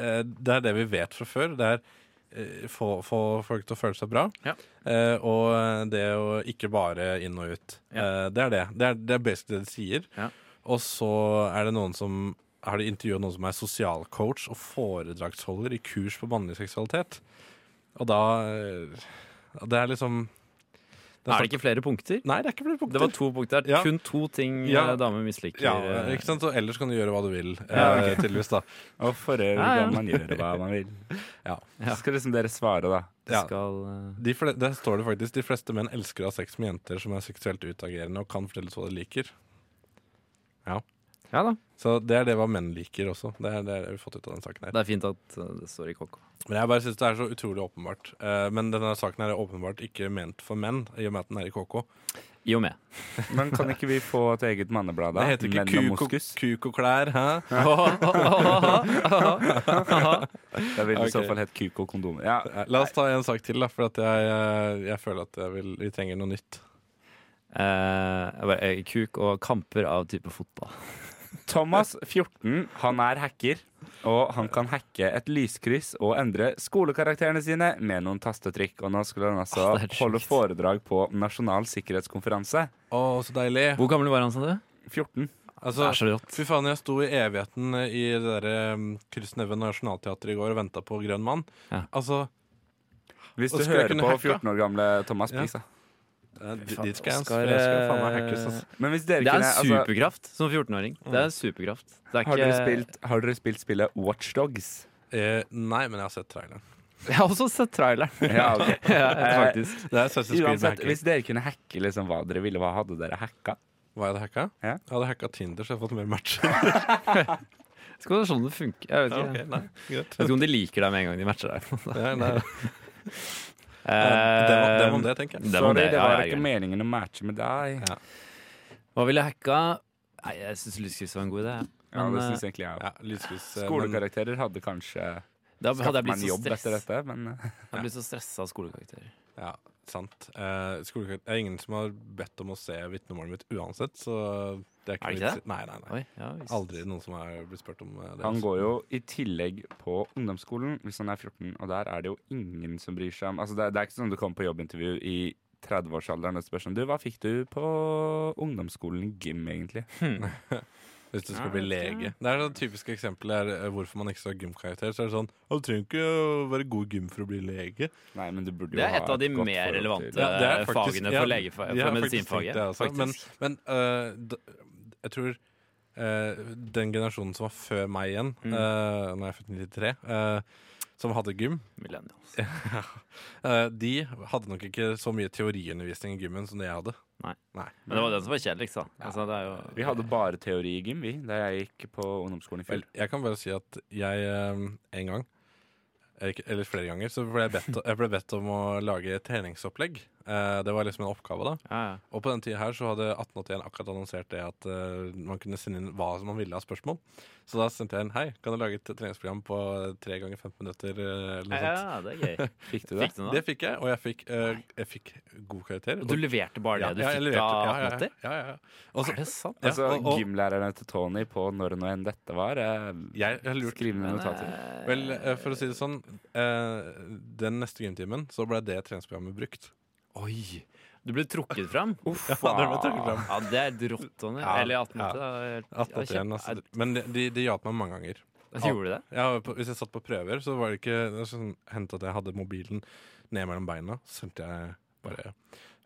eh, Det er det vi vet fra før. Det er eh, få, få folk til å føle seg bra. Ja. Eh, og det å ikke bare inn og ut. Eh, det er det. Det er, det er basically det de sier. Ja. Og så er det noen som har de intervjua noen som er sosialcoach og foredragsholder i kurs på mannlig seksualitet. Og da eh, Det er liksom Er det ikke flere punkter? Nei, det er ikke flere punkter. Det var to punkter. Ja. Kun to ting Ja. eh, damer misliker. Ja, eh, ikke sant? Og ellers kan du gjøre hva du vil, Ja, eh, tydeligvis, da. Og forrige Ja, ja. kan man gjøre hva man vil. Ja. Ja. Så skal liksom dere svare, da. Ja. Skal eh, De fle der står det faktisk de fleste menn elsker å ha sex med jenter som er seksuelt utagerende og kan fortelles hva de liker. Ja da. Så det er det hva menn liker også. Det er det er det vi har fått ut av den saken her. Det er fint at eh, det står i KK. Men jeg bare synes det er så utrolig åpenbart. Eh, men denne saken her er åpenbart ikke ment for menn, i og med at den er i KK. I og med. Men kan ikke vi få et eget manneblad, da? Det heter ikke Menn og kuk og- moskus. kuk og klær, hæ? Det vil i så Ok. fall hett kuk og kondomer. Ja, Eh, La oss ta en sak til, da, for at jeg, eh, jeg føler at jeg vil, vi trenger noe nytt. Eh, jeg bare, eh, kuk og kamper av type fotball. Thomas, 14, han er hacker, og han kan hacke et lyskryss og endre skolekarakterene sine med noen tastetrykk. Og nå skulle han altså Ah, det er sjukt. holde foredrag på Nasjonal sikkerhetskonferanse. Å, så deilig. Hvor gammel var han, sa du? 14. Det Altså, er så rått. Fy faen, jeg sto i evigheten i det derre Kristneven Nationaltheatret i går og venta på Grønn mann. Ja. Altså, Hvis Og du skulle jeg hører kunne på hacke, da? 14 år gamle Thomas, Ja. please. da. dit faen, dit skal jeg, Oscar, jeg skal faen meg eh, hackes, ass. Men hvis dere Det er kunne en altså, superkraft som 14-åring. Det er en superkraft. Det er har, dere ikke- spilt, har dere spilt spillet Watchdogs? Eh, nei, men jeg har sett traileren. Jeg har også sett traileren. Ja, ok. ja, Eh, faktisk. Det er Søster Spiel med Uansett, hacking. hvis dere kunne hacke liksom, hva dere ville, hva hadde dere hacka? Hva hadde jeg hacka? Ja. Jeg hadde hacka Tinder, så jeg hadde fått mer match. Skal det være sånn det funker? Jeg vet ikke. Ok, nei, greit. Jeg vet ikke om de liker deg med en gang de matcher deg. Nei, nei. Eh, Det var- det var om det, tenker jeg. det var om Sorry, det, det ja, var ja, ikke greit. meningen å matche med deg. Ja. Eh, Hva ville jeg hacka? Nei, jeg syns lyskryss var en god idé. jeg. Ja, Men, det eh, synes jeg egentlig jeg Ja, lyskryss, eh, men- Skolekarakterer hadde kanskje da hadde skaffet jeg meg blitt en så jobb etter stress- dette, men eh, jeg hadde blitt så stressa av skolekarakterer. Ja, sant. Eh, skolekarakter Det er ingen som har bedt om å se vitnemålet mitt uansett, så det er Er ikke det vits ikke i- det? Nei, nei, nei. Oi, ja, visst. Aldri noen som har blitt spurt om eh, det. han ass. går jo i tillegg på ungdomsskolen hvis han er 14, og der er det jo ingen som bryr seg om Altså, det, er- det er ikke sånn du kommer på jobbintervju i 30-årsalderen og spør sånn Du, hva fikk du på ungdomsskolen i gym, egentlig? Hvis du skal bli lege. Det er det typiske eksempelet er eh, hvorfor man ikke skal ha gymkarakter. Så er det sånn «Å, Du trenger ikke å være god i gym for å bli lege. Nei, men du burde jo Det er ha et av de godt mer forhold til- relevante Ja, det er faktisk- fagene ja, for, legef- for jeg har faktisk tenkt medisinfaget. det også, men faktisk. men eh, d- jeg tror eh, den generasjonen som var før meg igjen, Mm. eh, nå er jeg født i 93, eh, som hadde gym, Millennials. eh, de hadde nok ikke så mye teoriundervisning i gymmen som det jeg hadde. Nei. Nei. Men det var den som var kjedeligst, da. Altså, det er jo Vi hadde bare teori i gym, vi, da jeg gikk på ungdomsskolen i fjor. Vel, jeg kan bare si at jeg eh, en gang, eller ikke- eller flere ganger, så ble jeg bedt, jeg ble bedt om å lage et treningsopplegg. Eh, det var liksom en oppgave, da. ja, ja. Og på den tida her så hadde 1881 akkurat annonsert det at eh, man kunne sende inn hva man ville av spørsmål. Så da sendte jeg inn Hei, kan du lage et treningsprogram på 3 ganger 15 minutter? eh, Eller noe ja, sånt. ja, det er gøy. Fikk du det? Fikk du den, Det da? fikk jeg, og jeg fikk, eh, jeg fikk god karakter. Du leverte bare det du jeg fikk leverte- av ja, ja, 1880? Ja, ja, ja. Og så- Er det sant? ja, Altså, og, og, gymlærerne til Tony på når og enn dette var eh, jeg, jeg lurte Skriv ned Men, notater. eh, Vel, eh, for å si det sånn, eh, den neste gymtimen så ble det treningsprogrammet brukt. Oi! Du ble trukket fram? Uff, Ja, det ble trukket fram. Ja, det er helt rått, Tony. Ja, Eller 18 ja. måte. Ja. 1881, altså. Men de, de, de hjalp meg mange ganger. Gjorde det? Ja, på, hvis jeg satt på prøver, så var det ikke det var sånn, hendt at jeg hadde mobilen ned mellom beina. Så sendte jeg bare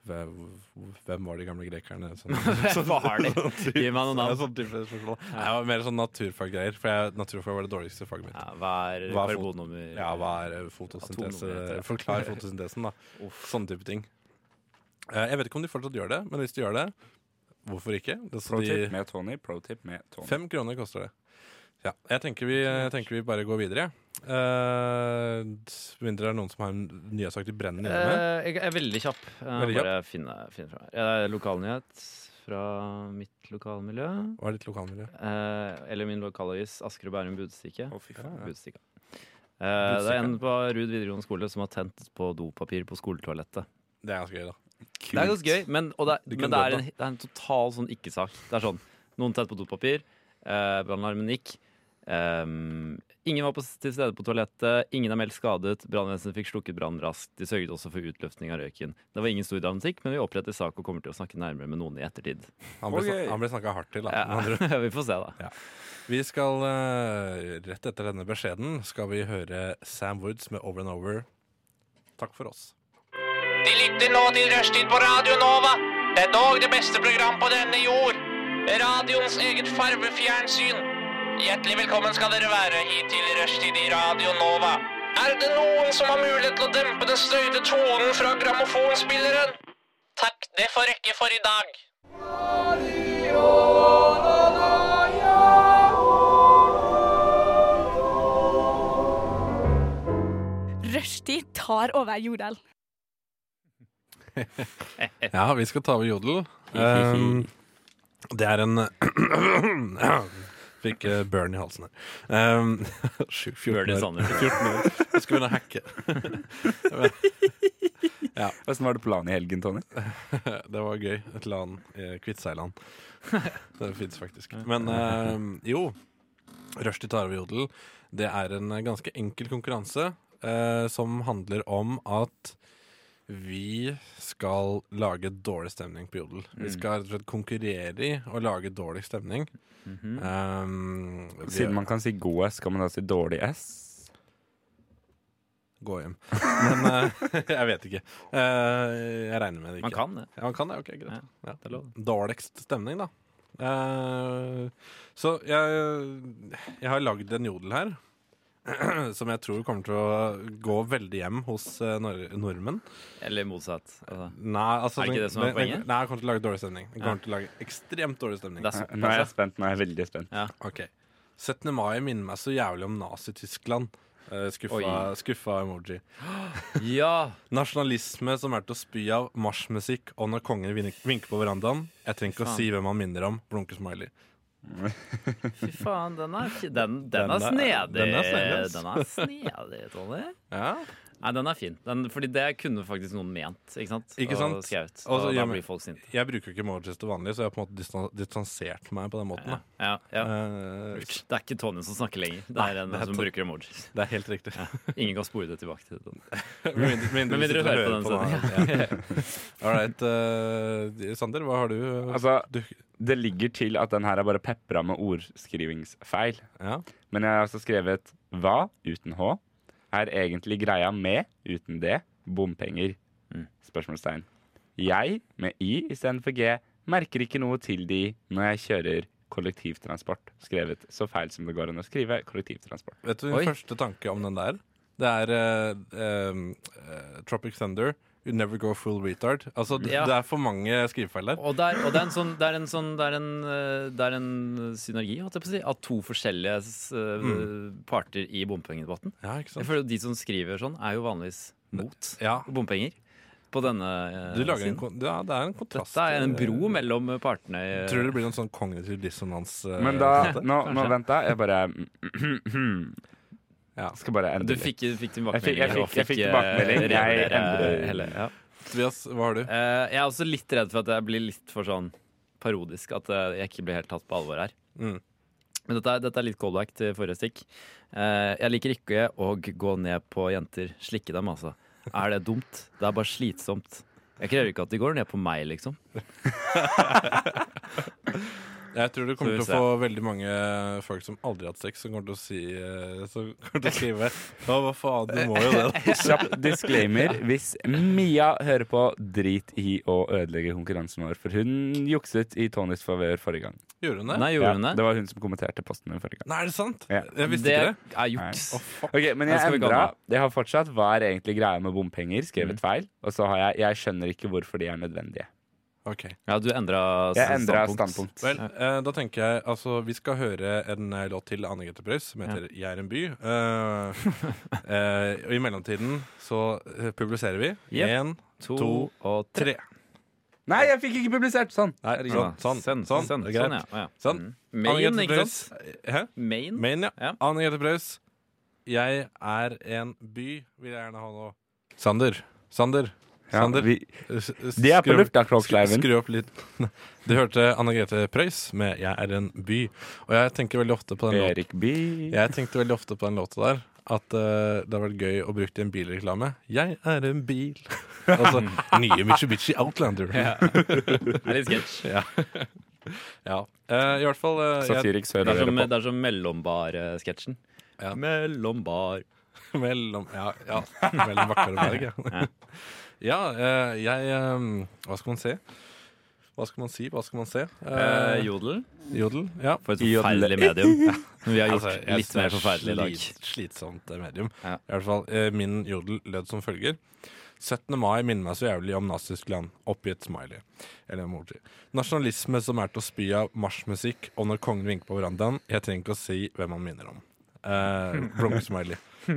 Hvem hvem var de gamle grekerne? Sånn, Hvem var de? Gi meg noen navn. Sånn type spørsmål. Nei, det var mer sånn naturfaggreier, for jeg, naturfag var det dårligste faget mitt. Ja, hva er Hva er fot- karbonnummer? Ja, hva er eh, fotosyntese? Atomnummer heter det. Forklar fotosyntesen, da. Sånne type ting. Eh, Jeg vet ikke om de fortsatt gjør det, men hvis de gjør det, hvorfor ikke? Det, så Pro de, tip med Tony, pro tip med Tony. fem kroner koster det. Ja, jeg tenker vi, jeg tenker vi bare går videre. Uh, mindre det er noen som har en nyhetsaktig brennende hjemme. Eh, jeg er veldig kjapp. Jeg Veldig må bare finne, finne fra her. Eh, Lokalnyhet fra mitt lokalmiljø. Hva er ditt lokalmiljø? Eh, eller min lokalavis Asker og Bærum Budstikke. Å, fy faen. Budstikka. Eh, det er en på Ruud videregående skole som har tent på dopapir på skoletoalettet. Det er ganske gøy, da. Det er ganske gøy, men, og det, er, Du kunne men det, dødd, er en, det er en total sånn ikke-sak. Det er sånn, Noen tett på dopapir, eh, brannalarmen gikk. ehm, ingen var på, s- til stede på toalettet, ingen er meldt skadet. Brannvesenet fikk slukket brannen raskt. De sørget også for utløftning av røyken. Det var ingen stor dramatikk, men vi oppretter sak og kommer til å snakke nærmere med noen i ettertid. Han ble, Ok. okay. ble snakka hardt til, da. med Ja, andre ord. vi får se, da. Vi skal, eh, rett etter denne beskjeden, skal vi høre Sam Woods med Over and Over. Takk for oss. De lytter nå til Rushtid på Radio Nova. Det er dog det beste program på denne jord. Radioens eget farvefjernsyn. Hjertelig velkommen skal dere være hit til Rushtid i Radio Nova. Er det noen som har mulighet til å dempe den støyte tonen fra grammofonspilleren? Takk, det får rekke for i dag. Rushtid tar over jodel. Ja, vi skal ta over jodel. Um, det er en Fikk eh, burn i halsen her. Um, sju- 14 Bernie år. Sanders. 14 år. Jeg skulle begynne å hacke. Hvordan var det planen i helgen, Tony? Det var gøy. Et land i Kvitseiland. Det fins faktisk. Men eh, jo, Rushdie tar over jodel. Det er en ganske enkel konkurranse eh, som handler om at vi skal lage dårlig stemning på jodel. Vi skal rett og slett konkurrere i å lage dårlig stemning. Eh, vi- Siden man kan si god S, kan man da si dårlig S? Gå hjem. Men eh, jeg vet ikke. Eh, jeg regner med det ikke. Man kan det. Ja, man kan det. Ok, greit. Ja. er lov. Dårligst stemning, da. Eh, så jeg, jeg har lagd en jodel her. Som jeg tror kommer til å gå veldig hjem hos eh, nor nordmenn. Eller motsatt. Altså, Nei, altså, Er det ikke det som er den- den- poenget? Nei, jeg kommer til å lage dårlig stemning. Jeg Ja. kommer til å lage ekstremt dårlig stemning. det er Nå er jeg såpass. spent. Nå er jeg veldig spent. Ok 17. mai minner meg så jævlig om Nazi-Tyskland. Eh, Skuffa, Oi. skuffa emoji. ja. Ja. Nasjonalisme som er til å spy av, marsjmusikk og når kongen vin- vinker på verandaen. Jeg trenger ikke å Faen. si hvem han minner om. Blunke-smiley. Fy faen, den er, fi- den, den Den er- er snedig. den er snedig, ass. Den er snedig, Tony. Ja, Nei, den er fin. Den, fordi det kunne faktisk noen ment. Ikke sant? Ikke sant? Og skrevet. Og så Og gjør da man- blir folk sinte. Jeg bruker jo ikke emojis til vanlig, så jeg har på en måte distan- distansert meg på den måten. Ja, Da. ja, ja. Eh, Det er ikke Tonje som snakker lenger. Det er en det er som Ton- bruker emojis. det er helt riktig. Ingen kan spore det tilbake til den. Med mindre- med mindre Men du mindre sitter og du hører på den den. Ja. All right. eh, Sander, hva har du? Altså, du det ligger til at den her er bare pepra med ordskrivingsfeil. ja. Men jeg har altså skrevet hva uten H er egentlig greia med uten det bompenger? Mm. Spørsmålstegn. Jeg med I istedenfor G merker ikke noe til de når jeg kjører kollektivtransport. Skrevet så feil som det går an å skrive kollektivtransport. Vet du min Oi. første tanke om den der? Det er eh, eh, Tropic Thunder. You never go full retard. Altså, det, Ja. det er for mange skrivefeil der. Og, det er- og det er en sånn Det er en, sånn, det er en, eh, det er en synergi, holdt jeg på å si, av to forskjellige s- eh, Mm. parter i bompengedebatten. Ja, ikke Jeg sant? føler at De som skriver sånn, er jo vanligvis mot Ja. bompenger. På denne eh, Du lager siden. en, kon- ja, det er en kontrast. Dette er en bro mellom partene. i- Tror det blir noen sånn kognitiv dissonans. eh, Men da Nå, nå Kanskje. vent, da. Jeg bare Ja. Skal bare Du endre litt. fikk, fikk Jeg fikk- jeg tilbakemelding. Eh, fikk- jeg fikk tilbakemelding. Jeg endrer- ja. Tobias, hva har du? Eh, Jeg er også litt redd for at jeg blir litt for sånn parodisk. At eh, jeg ikke blir helt tatt på alvor her. Mm. Men dette er, dette er litt callback til forrige stikk. Eh, Jeg liker ikke å gå ned på jenter. Slikke dem, altså. Er det dumt? Det er bare slitsomt. Jeg krever ikke at de går ned på meg, liksom. Jeg tror det kommer Så til vi å få veldig mange folk som aldri har hatt sex, som kommer til å si eh, Som kommer til å skrive Ja, hva faen, du må jo det. da». Kjapp disclaimer. Hvis Mia hører på, drit i å ødelegge konkurransen vår. For hun jukset i Tonys favør forrige gang. Gjorde hun det? Nei, gjorde hun Ja, det? det var hun som kommenterte posten min forrige gang. Nei, er det sant? Ja. Jeg visste Det ikke det. er juks. Å, fuck. Ok, Men Her jeg skal vi gå endra. nå. Jeg har fortsatt 'hva er egentlig greia med bompenger', skrevet feil. Og så har jeg 'jeg skjønner ikke hvorfor de er nødvendige'. Ok. Ja, du endra Jeg endra standpunkt. Vel, eh, da tenker jeg altså Vi skal høre en eh, låt til Anne Grete Preus som heter 'Jeg er en by'. Eh, eh, og i mellomtiden så eh, publiserer vi. Yep. Én, To, To, og tre. tre. Nei, jeg fikk ikke publisert! Sånn. Nei, Ja, sånn. Sånn. Send, sånn, send, greit. sånn, ja. ja. Sånn. Mm. Anne Main, sånn. Grete ikke Preus. sant? Hæ? Main. Men ja. Ja. Anne Grete Preus, 'Jeg er en by' vil jeg gjerne ha nå. Sander. Sander. Ja, Sander. vi, S- s- de er på skru- lufta, Skru, Krogskleiven. skru opp litt. Du hørte Anne Grete Preus med 'Jeg er en by'. Og jeg tenker veldig ofte på den låten. Erik Bye. Jeg tenkte veldig ofte på den låta der at eh, det har vært gøy å bruke det i en bilreklame. 'Jeg er en bil'. altså nye Mitsubishi Outlander. Ja. Det er litt sketsj. Eh, I hvert fall eh, jeg, Satiriks Det er hører som, dere på. det er som mellombar-sketsjen. Ja. Mellombar. mellom, ja, ja, mellom Bakkar og Berg. Ja, ja eh, jeg eh, Hva skal man si? Hva skal man si? Hva skal man se? Eh, Eh, jodel. jodel? Ja. For et Jodel. forferdelig medium. Som vi har gjort Altså, jeg synes litt mer forferdelig i det er dag. slit- Slitsomt eh, medium. Ja. I hvert fall, eh, Min jodel lød som følger. 17. mai minner meg så jævlig om nazistland. Oppgitt smiley. Eller emoji. Nasjonalisme som er til å spy av, marsjmusikk, og når kongen vinker på verandaen Jeg trenger ikke å si hvem han minner om. Eh, Blunk-smiley. Eh,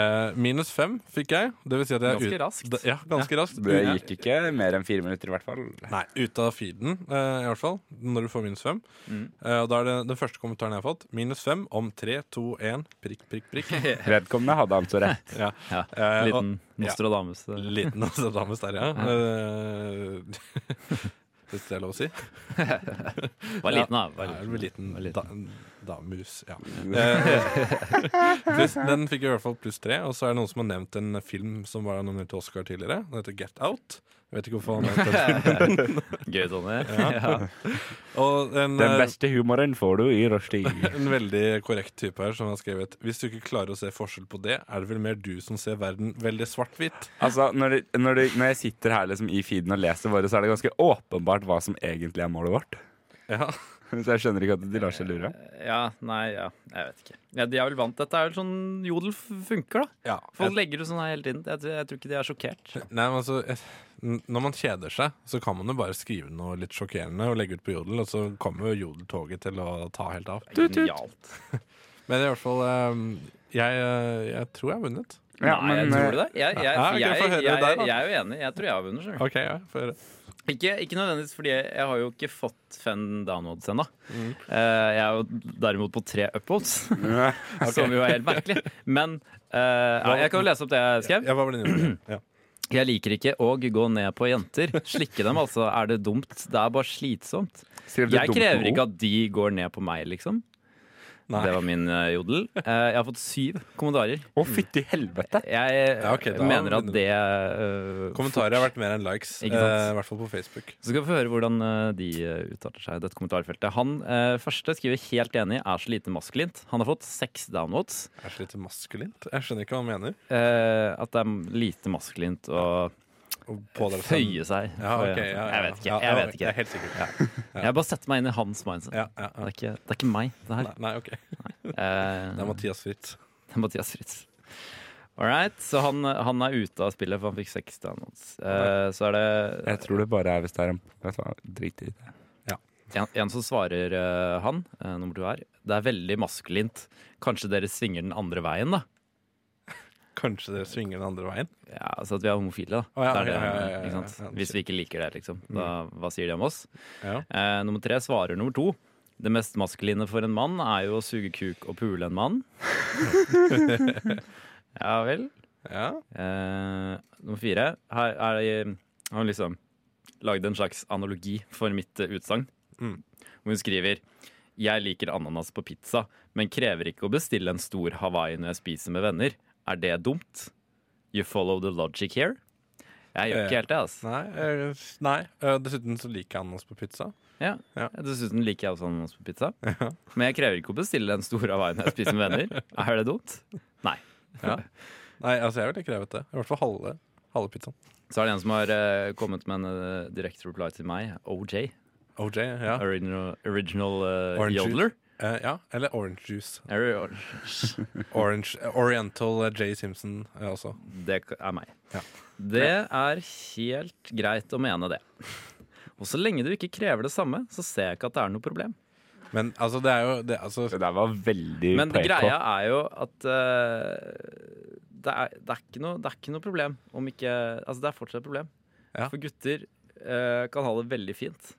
eh, minus fem fikk jeg. Det vil si at jeg Ganske ut- raskt. Da- Ja, ganske raskt. Det gikk ikke mer enn fire minutter, i hvert fall. Nei, ute av feeden, eh, i hvert fall. Når du får minus fem. Mm. Eh, og da er det den første kommentaren jeg har fått. Minus fem om tre, to, én, prikk, prikk, prikk. Vedkommende hadde altså rett. Ja. Ja, Eh, liten eh. ja. Nostradamus. og, liten Nostradamus der, ja. Eh, Hvis det er lov å si. Var liten, da. Var Ja, det liten. blir liten, Var da, liten. damus, ja. Eh, pluss, den fikk i hvert fall pluss tre, og så er det noen som har nevnt en film som var nominert til Oscar tidligere. Den heter Get Out. Jeg vet ikke hvorfor han nevnte den. Gøy, Tonje. Ja. Og en, Den eh, beste humoren får du i rushtid. En veldig korrekt type her som har skrevet Hvis du ikke klarer å se forskjell på det, er det vel mer du som ser verden veldig svart-hvitt. Altså, når, det- når, det- når jeg sitter her liksom i feeden og leser våre, så er det ganske åpenbart hva som egentlig er målet vårt. Ja. Så jeg skjønner ikke at de lar seg lure. ja, nei, ja. Jeg vet ikke. Ja, de er vel vant. Dette er vel sånn jodel f- funker, da. ja. Folk legger ut sånn her hele tiden. Jeg tror, jeg tror ikke de er sjokkert. Nei, men altså eh, n- Når man kjeder seg, så kan man jo bare skrive noe litt sjokkerende og legge ut på Jodel, og så kommer jo Jodeltoget til å ta helt av. Genialt. Men i hvert fall eh, jeg, eh, jeg tror jeg har vunnet. Ja, Nei, jeg men, eh, tror du det? Jeg, jeg, Ja, ok, jeg, få jeg, høre jeg, deg, da. er jo enig. Jeg tror jeg har vunnet. selv. OK, ja. Få høre. Ikke, ikke nødvendigvis, fordi jeg, jeg har jo ikke fått fem downloads ennå. Mm. Eh, jeg er jo derimot på tre uploads, som jo er helt merkelig. Men eh, ja, jeg kan jo lese opp det jeg skrev. Jeg var vel inne på det. Ja. Jeg liker ikke å gå ned på jenter. Slikke dem, altså. Er det dumt? Det er bare slitsomt. Skrev du Jeg dumt krever med ikke O? at de går ned på meg, liksom. Nei. Det var min eh, jodel. Eh, jeg har fått syv kommentarer. Å, fytti helvete! Jeg Ja, ok, da mener at vinner du. det eh, Kommentarer har vært mer enn likes. Ikke sant? eh, I hvert fall på Facebook. Så skal vi få høre hvordan eh, de eh, uttaler seg i dette kommentarfeltet. Han eh, første skriver helt enig, er så lite maskulint. Han har fått seks downvotes. Er så lite maskulint. Jeg skjønner ikke hva han mener. Eh, at det er lite maskulint å Og pådra seg- føye seg. Ja, for- ok, ja, ja, Jeg vet ikke. ja, ja, Jeg vet Jeg ikke. er helt sikker. Jeg bare setter meg inn i hans mindset. Ja, Det, ja, ja. er ikke, det er ikke meg, det her. Nei, nei, ok. Eh, Det er Mathias Fritz. det er Mathias Fritz. All right, så han, han er ute av spillet, for han fikk seks downvotes. Eh, så er det Jeg tror det bare er hvis det er en Vet du hva, drit i det. En, en som svarer eh, han, eh, nummer to her, det er veldig maskulint. Kanskje dere svinger den andre veien, da? Kanskje dere svinger den andre veien? Ja, altså at vi er homofile, da. Å, ja, Det er det, ja, ja, ja, ja, ikke sant? ja, ja. Hvis vi ikke liker det, liksom. Da, hva sier de om oss? Ja. Eh, nummer tre svarer nummer to. Det mest maskuline for en mann er jo å suge kuk og pule en mann. ja vel. Ja. Eh, nummer fire. Her er det Har hun liksom lagd en slags analogi for mitt eh, utsagn. Mm. Hvor hun skriver Jeg liker ananas på pizza, men krever ikke å bestille en stor Hawaii når jeg spiser med venner. Er det dumt? You follow the logic here? Jeg gjør Eh, ikke helt det, altså. Nei. eh, nei. Eh, Dessuten så liker jeg ananas på pizza. Ja. Ja. Dessuten liker jeg også ananas på pizza. Men jeg krever ikke å bestille en stor Hawaii når jeg spiser med venner. Er det dumt? Nei. Nei, altså jeg ville krevet det. I hvert fall halve, halve pizzaen. Så er det en som har eh, kommet med en eh, direkte reply til meg, OJ. OJ, ja. Original, original eh, Orange Jodler. Eh, ja, eller orange juice. Harry Or- Orange, eh, Oriental eh, Jay Simpson eh, også. Det er meg. Ja. Det er helt greit å mene det. Og så lenge du ikke krever det samme, så ser jeg ikke at det er noe problem. Men altså, det er jo det, altså, Det der var veldig Men PK. greia er jo at eh, det, er, det, er ikke noe, det er ikke noe problem om ikke Altså, det er fortsatt et problem. Ja. For gutter eh, kan ha det veldig fint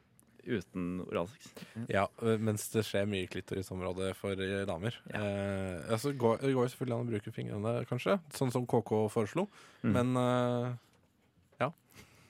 uten oralsex. Ja, eh, mens det skjer mye i klitorisområdet for eh, damer. Ja. Eh, altså, går, det går jo selvfølgelig an å bruke fingrene, kanskje, sånn som KK foreslo. Men eh,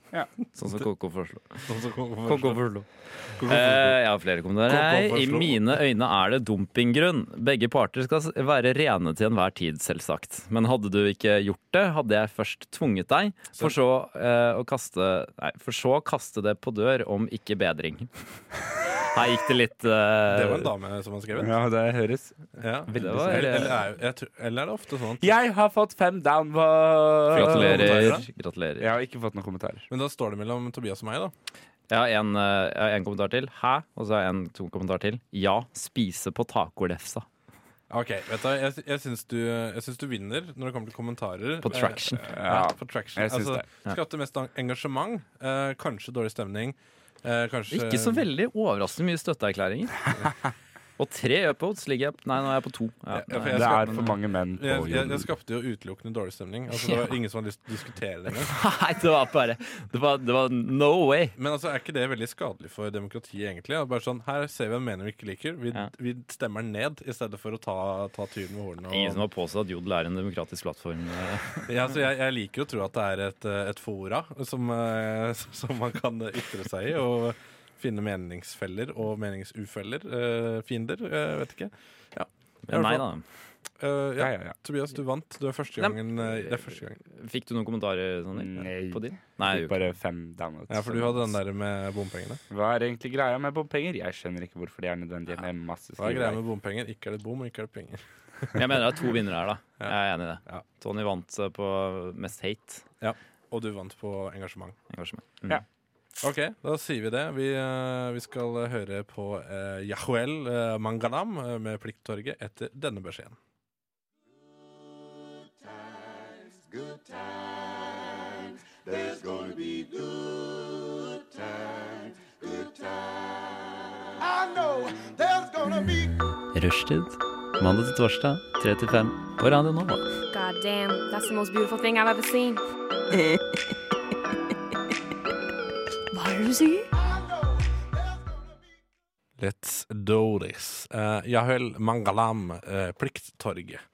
Sånn som KK foreslo. sånn som KK KK foreslo. foreslo. KK foreslo. Eh, jeg har flere kommentarer. Mm. Kom, kom, Hei, I foreslo. mine øyne er det dumpinggrunn. Begge parter skal s- være rene til enhver tid, selvsagt. Men hadde du ikke gjort det, hadde jeg først tvunget deg, for så, eh, å kaste, nei, for så å kaste det på dør om ikke bedring. Her gikk det litt eh, det var en dame som har skrevet. Ja, det høres Ja. det var, Eller, eller, eh, er, jeg, tror- eller er det ofte sånn at Jeg har fått fem down på Gratulerer. Kommentarer, Gratulerer. Jeg har ikke fått noen kommentarer. Men da står det mellom Tobias og meg, da. Jeg har en, eh, jeg har en kommentar til. Hæ? Og så har jeg en to kommentar til. Ja, spise på tacolefsa. Ok, vet du, hva, Jeg, jeg, syns du, jeg syns du vinner når det kommer til kommentarer. På traction. Eh, Ja, Ja, på traction. jeg syns altså, det. Ja. Skapte mest en- engasjement. eh, kanskje dårlig stemning. eh, kanskje Ikke så veldig overraskende mye støtteerklæringer. Og tre upvotes ligger jeg Nei, nå er jeg på to. Ja, Ja, for nei. jeg Det skal- er for mange menn på Jeg, jeg, jeg jorden. skapte jo utelukkende dårlig stemning. Altså, det var Ingen som hadde lyst til å diskutere det engang. Nei, det var bare Det var, det var no way. Men altså, er ikke det veldig skadelig for demokratiet, egentlig? At Bare sånn, Her ser vi en mening vi ikke liker. Vi, Ja. vi stemmer den ned i stedet for å ta, ta tyren med hornene. Ingen som Og, har påstått at Jodel er en demokratisk plattform. eh, ja, altså, jeg, jeg liker å tro at det er et, eh, et fora som, eh, som man kan ytre seg i. og Finne meningsfeller og meningsufeller. eh, fiender. eh, vet ikke. Men nei da. Eh, ja. Ja, ja, ja. Tobias, du vant. Du er første Nei, gangen. eh, det er første gangen. Fikk du noen kommentarer, Sander? Nei. På din? Nei, jo. Bare fem downloads. Ja, For du hadde den der med bompengene. Hva er egentlig greia med bompenger? Jeg skjønner ikke hvorfor de er nødvendige med masse Hva er greia skrivevei. med bompenger? Ikke er det bom, og ikke er det penger. jeg mener det er to vinnere her, da. Jeg er enig i Ja. det. Tony vant eh, på mest hate. Og du vant på engasjement. engasjement. Mm. Ok, da sier vi det. Vi, eh, vi skal høre på eh, Yahuel eh, Mangalam eh, med Plikttorget etter denne beskjeden. Rushtid. Mandag til torsdag, 3 til 5 på Radio Nova. God damn, that's the most beautiful thing I've ever seen. Hva er det du sier? Let's do this. Eh, Yahuel Mangalam, eh, Plikttorget.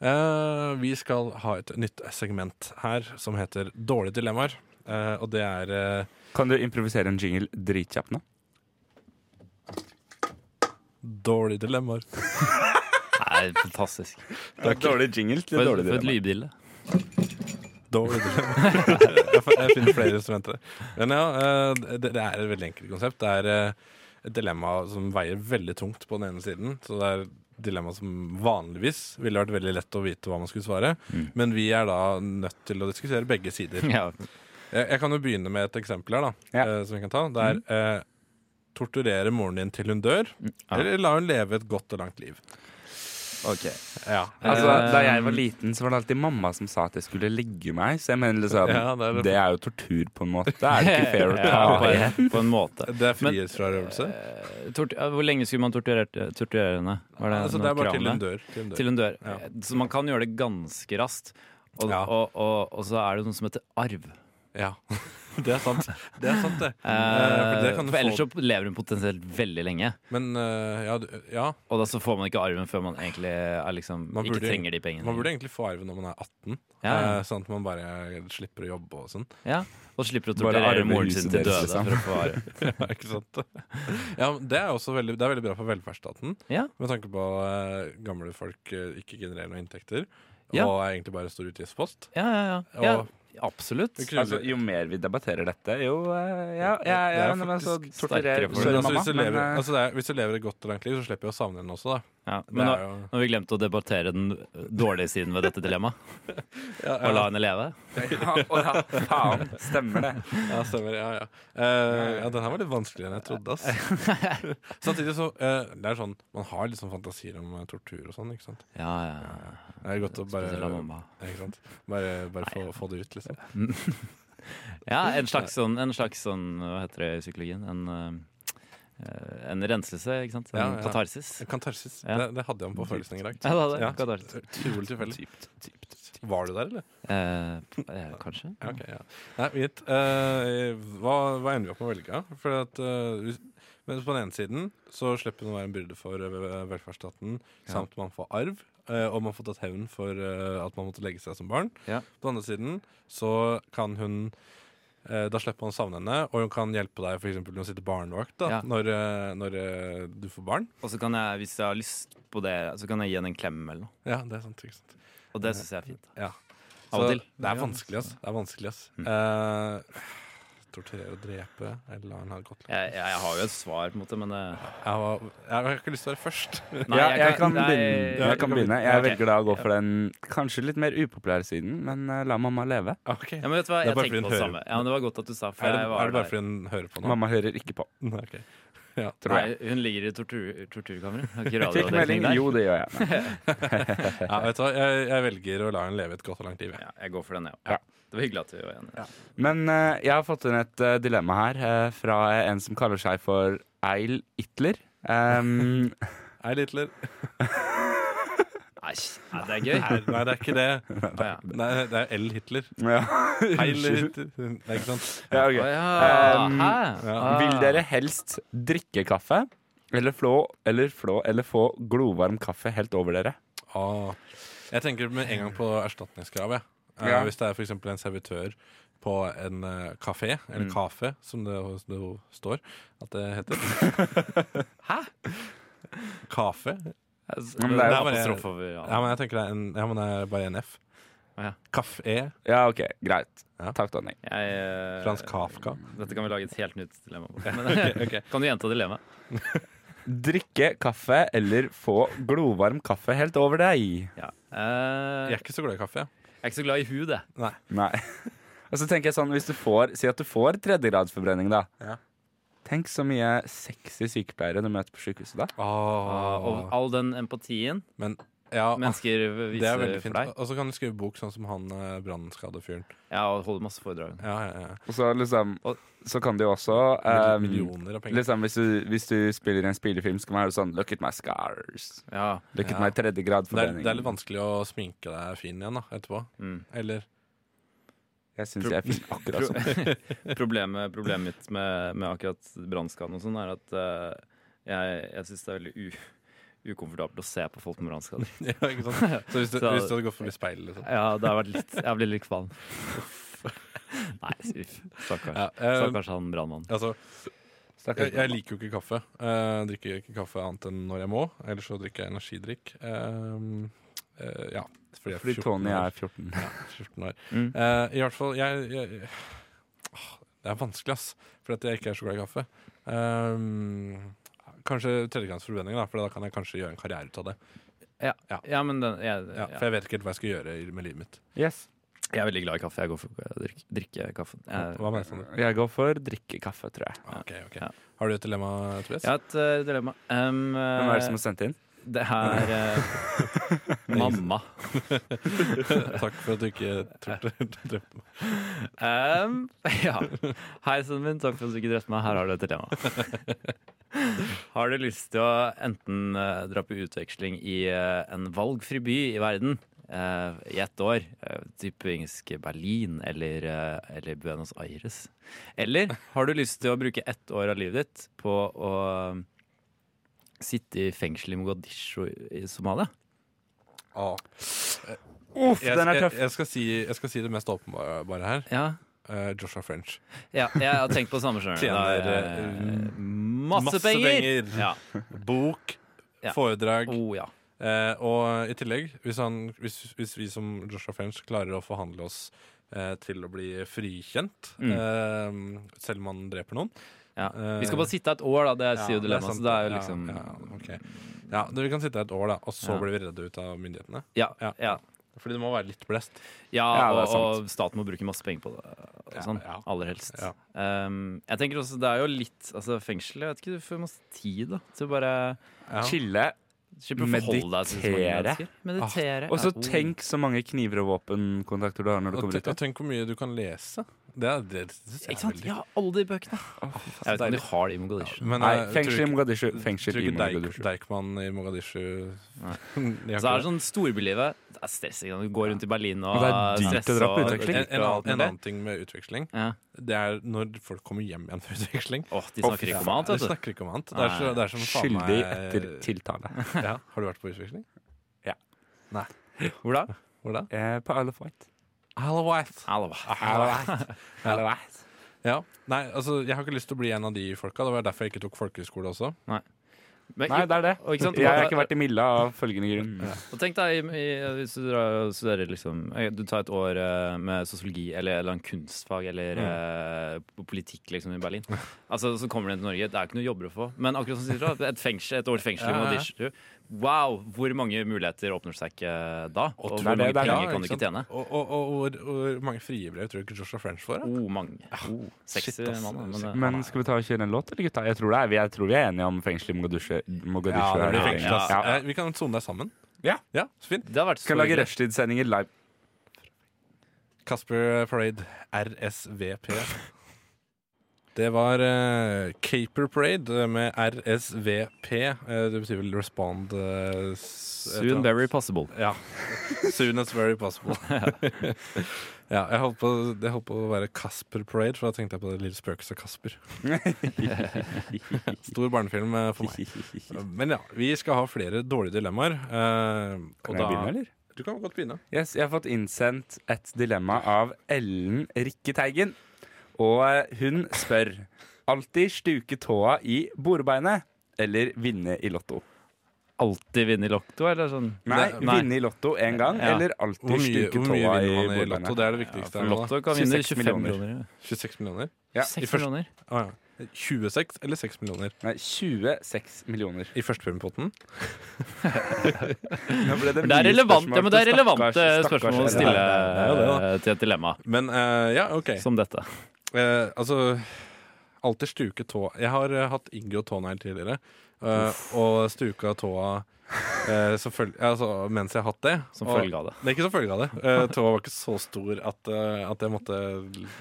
Eh, vi skal ha et nytt segment her som heter Dårlige dilemmaer. Eh, og det er eh, Kan du improvisere en jingle dritkjapt nå? Dårlige dilemmaer. Nei, fantastisk. Dårlig jingle til For, dårlig for et dilemma. lydbilde. Dårlig dilemma. jeg, fa- jeg finner flere som venter. Men ja, eh, det, det er et veldig enkelt konsept. Det er eh, et dilemma som veier veldig tungt på den ene siden. Så det er et dilemma som vanligvis ville vært veldig lett å vite hva man skulle svare. Men vi er da nødt til å diskutere begge sider. Mm. Ja. Jeg, jeg kan jo begynne med et eksempel her, da. Ja. eh, Som vi kan ta. Det Mm. er eh, torturere moren din til hun dør, Ja. eller la hun leve et godt og langt liv. Ok. Ja, Altså, da jeg var liten, så var det alltid mamma som sa at jeg skulle legge meg. Så jeg mener liksom, Ja, det det, er er det. jo tortur på en måte. Det er det ikke fair å Ja, på, ta igjen. en, på en måte. Det er Men- frihetsfrarøvelse. Eh, tort- ja, hvor lenge skulle man torturere, torturere henne? Var Altså, noen det er bare krav til hun der? dør. Til hun dør. Til hun dør. Ja. Eh, Så man kan gjøre det ganske raskt. Og, Ja. og, og, og så er det noe som heter arv. Ja, det er sant. Det er sant, det. Eh, for det Eh, kan du for ellers få. så lever hun potensielt veldig lenge. Men eh, ja, du- ja, Og da så får man ikke arven før man egentlig er liksom, Man burde- ikke trenger de pengene. man burde egentlig få arven når man er 18, Ja. eh, sånn at man bare slipper å jobbe og sånn. Ja, Og slipper å Bare torturere arve moren huset sin til døde deres, liksom. for å få arv. Ja, ikke sant? Ja, men det er også veldig, det er veldig bra for velferdsstaten, Ja. med tanke på at gamle folk eh, ikke eh, genererer noen inntekter. Ja. Og er egentlig bare en stor utgiftspost. Ja, ja, ja. Og ja. Absolutt. Kruller. Altså, jo mer vi debatterer dette, jo eh, Ja, ja, Det ja er men så faktisk torturerer sterkere for Sorry, det. altså, mamma. hvis, du Men, lever, eh, altså det er, hvis du lever et godt og langt liv, så slipper vi å savne henne også, da. Ja, Det men nå, er jo- nå har vi glemt å debattere den dårlige siden ved dette dilemmaet. Og la henne leve. ja, å, ja, faen, stemmer det. Ja, stemmer. Ja, ja. Eh, ja, den her var litt vanskeligere enn jeg trodde. Ass. Samtidig så eh, Det er sånn Man har litt sånn fantasier om eh, tortur og sånn, ikke sant. Ja, ja. Det er godt å bare Spesielt av mamma. Ja, Ikke sant? Bare, bare få, få det ut, liksom. ja en, slags sånn, en slags sånn Hva heter det i psykologien? En, eh, en renselse, ikke sant? En Ja, ja. katarsis. Katarsis. Ja. Det, det hadde jeg om på følelsen i dag. Ja, det hadde jeg. Katarsis. Utrolig tilfeldig. Var du der, eller? Eh, eh, kanskje? Ja, ok, ja. Nei, gitt. Eh, hva, hva ender vi opp med å velge? For at, eh, hvis- men på den ene siden så slipper hun å være en byrde for eh, vel- velferdsstaten, samt man får arv. eh, Og man får tatt hevn for eh, at man måtte legge seg som barn. Ja. På den andre siden så kan hun eh, Da slipper man å savne henne, og hun kan hjelpe deg f.eks. når hun sitter barnevakt da, Ja. når, eh, når eh, du får barn. Og så kan jeg, hvis jeg har lyst på det, så kan jeg gi henne en klem eller noe. Ja, det er sant. Ikke sant? Og det syns jeg er fint. Ja. Av og til. Mm. Det er vanskelig, ass. Det er vanskelig, ass. Eh, torturere og drepe eller la henne ha det godt. Jeg, jeg, jeg har jo et svar, på en måte, men det Jeg, var, jeg har ikke lyst til å være først. Nei, ja, jeg, kan nei, begynne. Ja, jeg du kan kan begynne. begynne. Jeg Ja, ok. velger da å gå for den kanskje litt mer upopulære siden, men eh, la mamma leve. Ja, men vet du hva, Det er jeg bare fordi tenkte på hun det hører. samme. Ja, men det var godt at du sa, for Er det, jeg var er det bare der. fordi hun hører på nå? Mamma hører ikke på, Nei, ok. tror jeg. Nei, hun ligger i tortur, torturkammeret. Har ikke Fikk melding. radiodekning der. Jo, det gjør jeg. Men. Ja, vet du hva? Jeg, jeg velger å la henne leve et godt og langt liv. jeg. Ja, jeg går for den, jeg Ja. ja. Det var hyggelig at vi var enige. Men eh, jeg har fått inn et eh, dilemma her eh, fra en som kaller seg for Eil Hitler. Um, Hei, Litler. Nei, nei, det er gøy. Nei, det er ikke det. Å, ja. Nei, det er L. Hitler. ja. Heil Unnskyld. Hitler. Det er ikke sant. Å, Ja, ok. ja. Um, Hæ? ja. Ah. Vil dere helst drikke kaffe eller flå eller, flå, eller få glovarm kaffe helt over dere? Åh. Ah. Jeg tenker med en gang på erstatningskrav. jeg. Eh, Ja. Hvis det er for eksempel en servitør på en eh, kafé, eller Mm. kafe, som det, det står at det heter. Hæ? Kafe? Altså, Ja, det men det er er jo bare- apostrof over Ja, ja. men jeg tenker det er, en, ja, men det er bare en F. E, Å, ja. Kafé. Ja, ok, greit. Ja. Takk, Donny. Jeg, eh, Frans Kafka. Dette kan vi lage et helt nytt dilemma på. Men, eh, kan du gjenta dilemmaet? Drikke kaffe eller få glovarm kaffe helt over deg? Ja. Jeg Eh, er ikke så glad i kaffe. jeg. jeg er ikke så glad i hud, jeg. Nei. Og så tenker jeg sånn, hvis du får, Si at du får tredjegradsforbrenning, da. Ja. Tenk så mye sexy sykepleiere du møter på sykehuset da. Og all den empatien Ah, Men ja, ah, mennesker det er veldig viser for fint. deg. Og så kan du skrive bok sånn som han eh, brannskadefyren. Ja, og holder masse foredrag. Ja, ja, ja. Og så liksom Og- Så kan du jo også Mil- ehm, Millioner av penger. Liksom, hvis, du, hvis du spiller i en spillefilm, skal man høre sånn Look at my scars. Ja. Look Ja. at my Det er, tredjegradsforbrenning. det er litt vanskelig å sminke deg fin igjen da, etterpå. Mm. Eller Jeg syns jeg er fin akkurat sånn. problemet, problemet mitt med, med akkurat brannskaden og sånn, er at eh, jeg, jeg syns det er veldig u ukomfortabelt å se på folk med brannskader. Ja, ikke sant? Så hvis du, Så- hvis du hadde gått forbi speilet, liksom. Ja, det har vært litt Jeg blir litt kvalm. Nei, uff. Stakkars. Ja, eh, Stakkars han brannmannen. altså, jeg, Stakkars. jeg liker jo ikke kaffe. Eh, drikker ikke kaffe annet enn når jeg må. Eller så drikker jeg energidrikk. Eh, eh, ja, fordi jeg er Fordi 14 Tony år. er 14. 14 år. Mm. Eh, I hvert fall, jeg, jeg Åh, Det er vanskelig, ass. Fordi at jeg ikke er så glad i kaffe. Ehm, kanskje tredjegradsforbrenning, da, for da kan jeg kanskje gjøre en karriere ut av det. Ja, men den, jeg, Ja, ja. For jeg vet ikke helt hva jeg skal gjøre i- med livet mitt. Yes. jeg er veldig glad i kaffe. Jeg går for å drikke, drikke kaffen. Jeg, Hva med deg, Sander? Jeg går for drikkekaffe, tror jeg. Ah, ok, ok. Har du et dilemma, Tobias? jeg har et eh, dilemma. Um, Hvem er det som har sendt inn? det er eh, mamma. Takk for at du ikke turte drepte meg. Um, ja. Hei, sønnen min. Takk for at du ikke drepte meg. Her har du et dilemma. Har du lyst til å enten eh, dra på utveksling i eh, en valgfri by i verden eh, i ett år, uh, type engelsk Berlin eller, eh, eller Buenos Aires? Eller har du lyst til å bruke ett år av livet ditt på å eh, sitte i fengsel i Mogadishu i Somalia? Ah. Uff, Jeg, den er jeg, tøff. jeg, skal si, jeg skal si det mest åpenbare her. Ja, Eh, Joshua French. ja jeg har tenkt på det samme sjøl. Tjener, eh, Masse, masse penger! penger. Ja. Bok, Ja. foredrag. Oh, ja. Eh, og i tillegg, hvis, han, hvis, hvis vi som Joshua French klarer å forhandle oss eh, til å bli frikjent. Mm. Eh, selv om han dreper noen. Ja. Vi Eh, skal bare sitte her et år, da. Det er sier jo dilemmaet. Så det er jo liksom Ja, ja, ok. ja det, vi kan sitte her et år, da, og så Ja. blir vi redda ut av myndighetene. Ja, Ja. ja. Fordi det må være litt blest. ja Ja, det er og, og staten må bruke masse penger på det. Og Ja, sånn, ja. Aller helst. Ja. Um, jeg tenker også, det er jo litt Altså, fengsel Jeg vet ikke, du får masse tid da til å bare Ja. Chille. slipper å forholde deg til så mange Meditere. Ah, mennesker. Meditere. Og så er ord. tenk så mange kniver og våpenkontakter du har når du Og, kommer te- ut. og tenk hvor mye du kan lese. Det, er- det, synes jeg Ikke er sant? veldig Ja, alle de bøkene. Jeg vet ikke om de har det i Mogadishu. Men Nei, jeg tror fengsel i ikke- Mogadishu. Fengsel tror i ikke Deik, Mogadishu. Deichman i Mogadishu Nei. De har Så er det ikke- sånn storbylivet. Det er stress. ikke sant? Du går rundt i Berlin og Men det er dyrt å stress dra på og- utveksling. en, en, annen, en Ja. annen ting med utveksling, Ja. det er når folk kommer hjem igjen fra utveksling. Åh, de snakker ikke om annet, De vet du. snakker ikke om annet. Det er, så, det er som faen meg- Skyldig etter tiltale. Ja, Har du vært på utveksling? Hvor da? Hvor da? Eh, På Isle of Wight. Hello White. Alva. Ah, Isle of Wight. Ja. Nei, altså, jeg har ikke lyst til å bli en av de folka. Det var derfor jeg ikke tok folkehøyskole også. Men, Nei, det er det. og ikke sant? Jeg har ikke vært i Milla av følgende grunn. Mm. Og tenk deg, i- i- hvis du drar og studerer liksom eh, Du tar et år eh, med sosiologi eller, eller en kunstfag eller eh, p- politikk liksom i Berlin. Altså, Så kommer du inn til Norge, det er ikke noe jobber å få. Men akkurat som sier du, et fengsel, et års fengsel i Ja, ja, ja. Mogadishu Wow! Hvor mange muligheter åpner seg ikke eh, da? Og det hvor er mange det, det er penger Ja, kan du ikke sant? tjene? Og, og, og hvor, hvor mange friebrev tror du ikke Joshua French får? Da? Oh, mange. Oh, Shit, Sexy ass. mann. da, Men, eh, Men skal vi ta og kjøre en låt, eller gutta? Jeg tror, det er, jeg tror vi er enige om fengsel i Mogadishu. Ja, Mogadishu det er blir det. fengsel, ass. Ja. Eh, Vi kan sone deg sammen. Ja. ja så fint. det har vært Skal lage hyggelig. rushtidssendinger live. Casper Parade, RSVP. Det var eh, Caper Parade eh, med RSVP. Eh, det betyr vel Respond eh, s- et eller Soon annet. very possible. Ja. Soon as very possible. ja, jeg holdt, på, jeg holdt på å være Casper Parade, for da tenkte jeg på det lille spøkelset Casper. Stor barnefilm eh, for meg. Men ja, vi skal ha flere dårlige dilemmaer. eh, og Kan da- jeg begynne, eller? Du kan godt begynne. Yes, jeg har fått innsendt et dilemma av Ellen Rikke Teigen. Og eh, hun spør Alltid stuke tåa i bordbeinet eller vinne i lotto? Alltid vinne i Lotto, eller sånn? Nei, Det- nei. vinne i lotto én gang, Ja. eller Hvor alltid mye, stuke hvor mye tåa i vinner man i Lotto? bordbeinet? Det er det viktigste. For her nå, da. Lotto kan vinne 26 25 millioner. millioner. 26 millioner? Ja, i 6 første- millioner. Å, ja. 26 eller 6 millioner Nei, 26 millioner. i førstepremiepotten? Nå ble Men det er mye relevant, ja, spørsmål men det er til relevante stakkars- stakkars spørsmål å Ellen. stille det er jo eh, til et dilemma Men eh, ja, OK. som dette. Eh, altså Alltid stuke tå Jeg har eh, hatt Ingo og tånegl tidligere, eh, og stuka tåa eh, som følge- altså, mens jeg har hatt det. Som Og- følge av det. Nei, ikke som følge av det. Eh, tåa var ikke så stor at, eh, at jeg måtte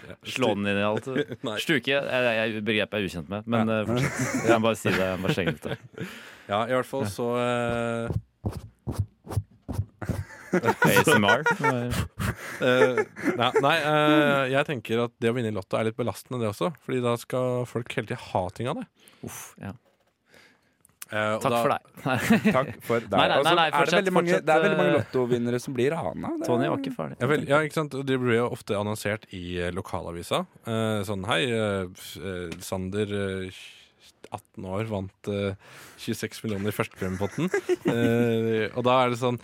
ja, Slå den inn i alt. Nei. Stuke jeg, jeg, begrep jeg er ukjent med, men Ja. eh, fortsett. Jeg må bare si det. Jeg må bare slenge ut det. Ja, i hvert fall så eh, ASMR. Eh, nei, nei eh, jeg tenker at det å vinne i Lotto er litt belastende, det også. Fordi da skal folk hele tida ha ting av det. Uff, ja. Eh, og Takk da- for deg. Nei, Takk for deg. Nei, nei, Og så nei, nei, er det, fortsett, veldig mange, det er veldig mange fortsett, lottovinnere som blir rana. Det er- Tony var ikke ferdig. Ja, vel, ja, ikke sant? Og Det blir jo ofte annonsert i eh, lokalavisa. Eh, sånn hei, eh, f- eh, Sander eh, 18 år vant eh, 26 millioner i førstepremiepotten. Eh, og da er det sånn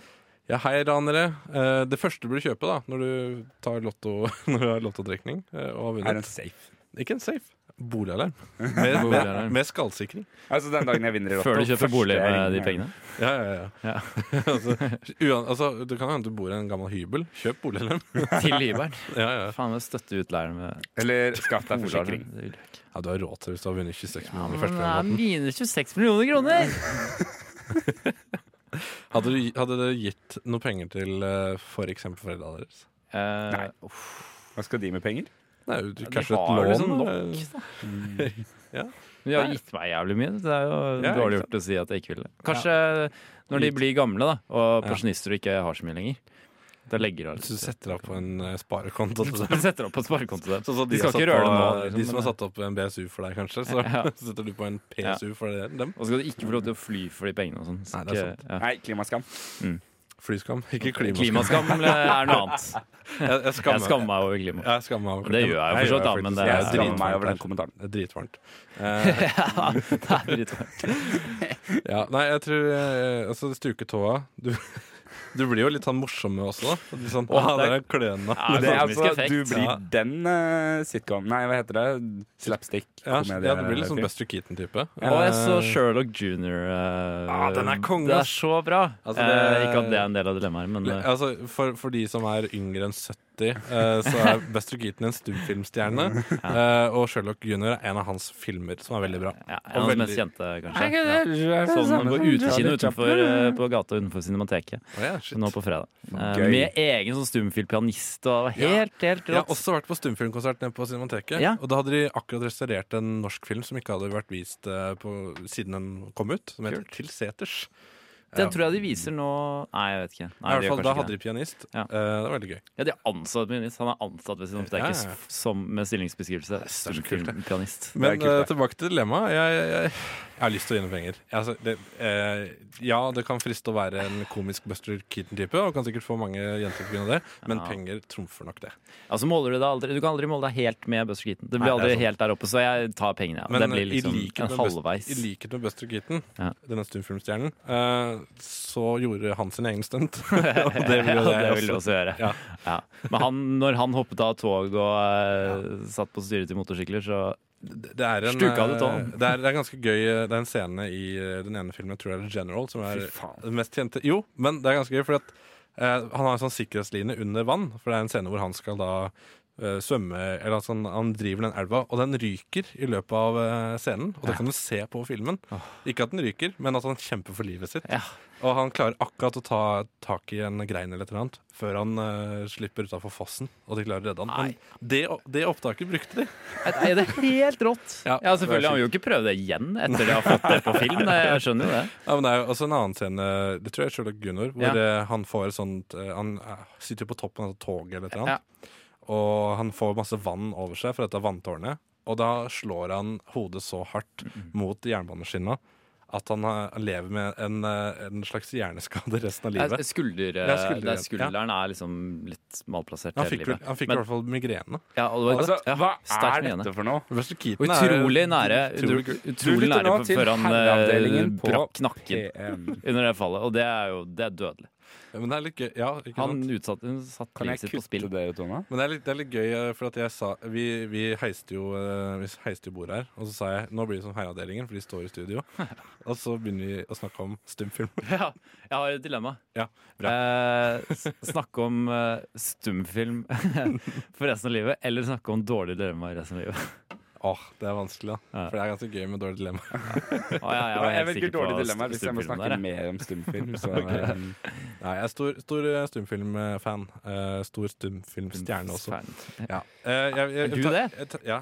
ja, hei, ranere. Eh, det første du bør kjøpe da når du tar lotto Når du har lottotrekning eh, og har Er den vunnet safe? Ikke en safe. Boligalarm. Med, med, Boligalarm. med skallsikring. Altså den dagen jeg vinner i lotto. Før du kjøper første bolig jeg med de ringer. pengene. Ja, ja, ja. altså, uan, altså, det kan hende du bor i en gammel hybel. Kjøp boligalarm. Til hybelen. ja, ja. Faen meg støtte utleieren med Eller skaff deg forsikring. boliglån. Det vil jeg ikke. ja, du har råd til det hvis du har vunnet 26 Ja, men det millioner i er førstepremiepotten. mine 26 millioner kroner! Hadde, du- hadde du gitt noe penger til eh, for eksempel foreldrene deres? Eh, Nei. Hva skal de med penger? Nei, du, de kanskje et har lån? liksom eh, nok, da. Ja. Mm. Men De har gitt meg jævlig mye. Det er jo Ja, dårlig ikke gjort å si at jeg ikke ville. Kanskje når de Litt. blir gamle da og Ja. pensjonister og ikke har så mye lenger. Da legger de Hvis du setter deg på en eh, sparekonto til De setter opp på sparekonto der. Sånn som De skal har ikke satt røre det på- nå, liksom, de som men- har satt opp en BSU for deg, kanskje, så Ja. setter du på en PSU for det- dem. Og så skal du ikke få lov til å fly for de pengene og sånn. Så Nei, det er ikke- ja. Nei, klimaskam. Flyskam, ikke klimaskam. Klimaskam eh, er noe annet. Jeg, jeg Jeg skammer skammer meg over klima. jeg skammer meg over Det gjør jeg jo for så vidt, da, faktisk. men det er- Jeg er skammer dritvarmt meg over den her. kommentaren. Det er dritvarmt. Eh, Ja, det er dritvarmt. ja, nei, jeg tror eh, Altså, stuke tåa du, Du blir jo litt sånn morsomme også, da. Litt sånn, Åh, «Ah, det der er- er kløna. Ja, Det er komisk altså, effekt. du blir Ja. den eh, sitcom Nei, hva heter det? Slapstick. Ja, ja, du blir litt sånn komedie- Buster Keaton-type. Og jeg så Sherlock Jr. eh, Ah, den er konge, Det ass. er så bra. Altså, Eh, det- ikke at det er en del av dilemmaet, men eh, Altså, for, for de som er yngre enn 70, eh, så er Buster Keaton en stumfilmstjerne. eh, og Sherlock Jr. er en av hans filmer som er veldig bra. ja, en av og de mest veldig- kjente, Nei, kanskje. ikke Ja. det er det Sånn samme på som utekino Charlie utenfor eh, på gata utenfor Cinemateket Å, ja, shit. nå på fredag. Eh, Gøy. Med egen sånn stumfilm pianist og det var helt, helt Jeg har rått. også vært på stumfilmkonsert nede på Cinemateket. Ja. Og da hadde de akkurat restaurert en norsk film som ikke hadde vært vist eh, på, siden den kom ut, som heter Til seters. Den tror jeg de viser nå Nei, jeg vet ikke. Nei, I de hvert gjør fall, kanskje Da ikke hadde det. de pianist. Ja. Eh, det var veldig gøy. Ja, de er ansatt pianist. Han er ansatt ved Ja, Cinemateket ja, ja. som med stillingsbeskrivelse. så kult, det. Stumfilmpianist. Men Det er kult, eh, det. tilbake til dilemmaet. Jeg, jeg, jeg har lyst til å vinne penger. Altså, det, eh, ja, det kan friste å være en komisk Buster Keaton-type, og kan sikkert få mange jenter til å begynne det, men Ja. penger trumfer nok det. Altså måler Du deg aldri Du kan aldri måle deg helt med Buster Keaton. Det blir Nei, det er aldri sant. helt der oppe, så jeg tar pengene. Ja. Men eh, det blir liksom i likhet en med halvveis. Buster, i likhet med Buster Keaton, Ja. denne stumfilmstjernen, eh, så gjorde han sin egen stunt. og det vil jo Ja, jeg det vil du også. også gjøre. Ja. Ja. Men han, når han hoppet av tog og eh, satt på styret til motorsykler, så Det det er, en, Stuka det, Tom. eh, det, er, det er ganske gøy eh, Det er en scene i eh, den ene filmen, jeg tror det er General, som er Fy faen. den mest kjente. Jo, men det er ganske gøy, for at, eh, han har en sånn sikkerhetsline under vann. For det er en scene hvor han skal da eh, svømme Eller altså, han, han driver den elva, og den ryker i løpet av eh, scenen. Og det kan du se på filmen. Ikke at den ryker, men at han kjemper for livet sitt. Ja. Og han klarer akkurat å ta tak i en grein eller et eller annet før han eh, slipper utafor fossen, og de klarer å redde han. Nei. Men det, det opptaket brukte de. er det helt rått. Ja, Ja, det selvfølgelig. er Han vil jo ikke prøve det igjen etter de har fått det på film. Det- Jeg skjønner jo det. Ja, men Det er jo også en annen scene, det tror jeg er Sherlock Gunnar, hvor Ja. eh, han får et sånt eh, Han eh, sitter jo på toppen av et tog eller et eller annet, og han får masse vann over seg fra dette vanntårnet. Og da slår han hodet så hardt Mm. mot jernbaneskinna at han eh, lever med en, eh, en slags hjerneskade resten av Ja, livet. Skulder, Ja, skulder, det er ja. skulderen er liksom litt malplassert. Han hele fikk, vel- livet. han fikk Men- i hvert fall migrene. ja, og det var, Altså, ja, hva sterkt er med henne. dette for noe? Buster Og Keaton er- utrolig nære, utrolig ut- kul. utrolig lytter nære nå til før han eh, Herreavdelingen på brakk nakken P1. under det fallet. Og det er jo det er dødelig. Ja, Men det er litt gøy. Ja, ikke Han sant? utsatte hun satt Kan livet jeg sitt på spill. kutte det ut, Tone? Men det er litt, det er litt gøy, eh, for at jeg sa vi, vi, heiste jo, eh, vi heiste jo bordet her, og så sa jeg nå blir det som Heiavdelingen, for de står i studio. Og så begynner vi å snakke om stumfilm. Ja, jeg har et dilemma. Ja, bra. Eh, s- snakke om eh, stumfilm for resten av livet, eller snakke om dårlige dilemmaer resten av livet. Åh, det er vanskelig, da. Eh. Ja. For det er ganske gøy med dårlig dilemma. Å, ja, jeg var Jeg helt velger sikker på dårlig st- dilemma hvis jeg må stumfilmen snakke der, jeg. mer om stumfilm. Så, um, Nei, jeg er stor, stor eh, stumfilmfan. Eh, stor stumfilmstjerne også. Fan. Ja. Eh, jeg- jeg- Er du jeg- det? jeg- jeg- Ja.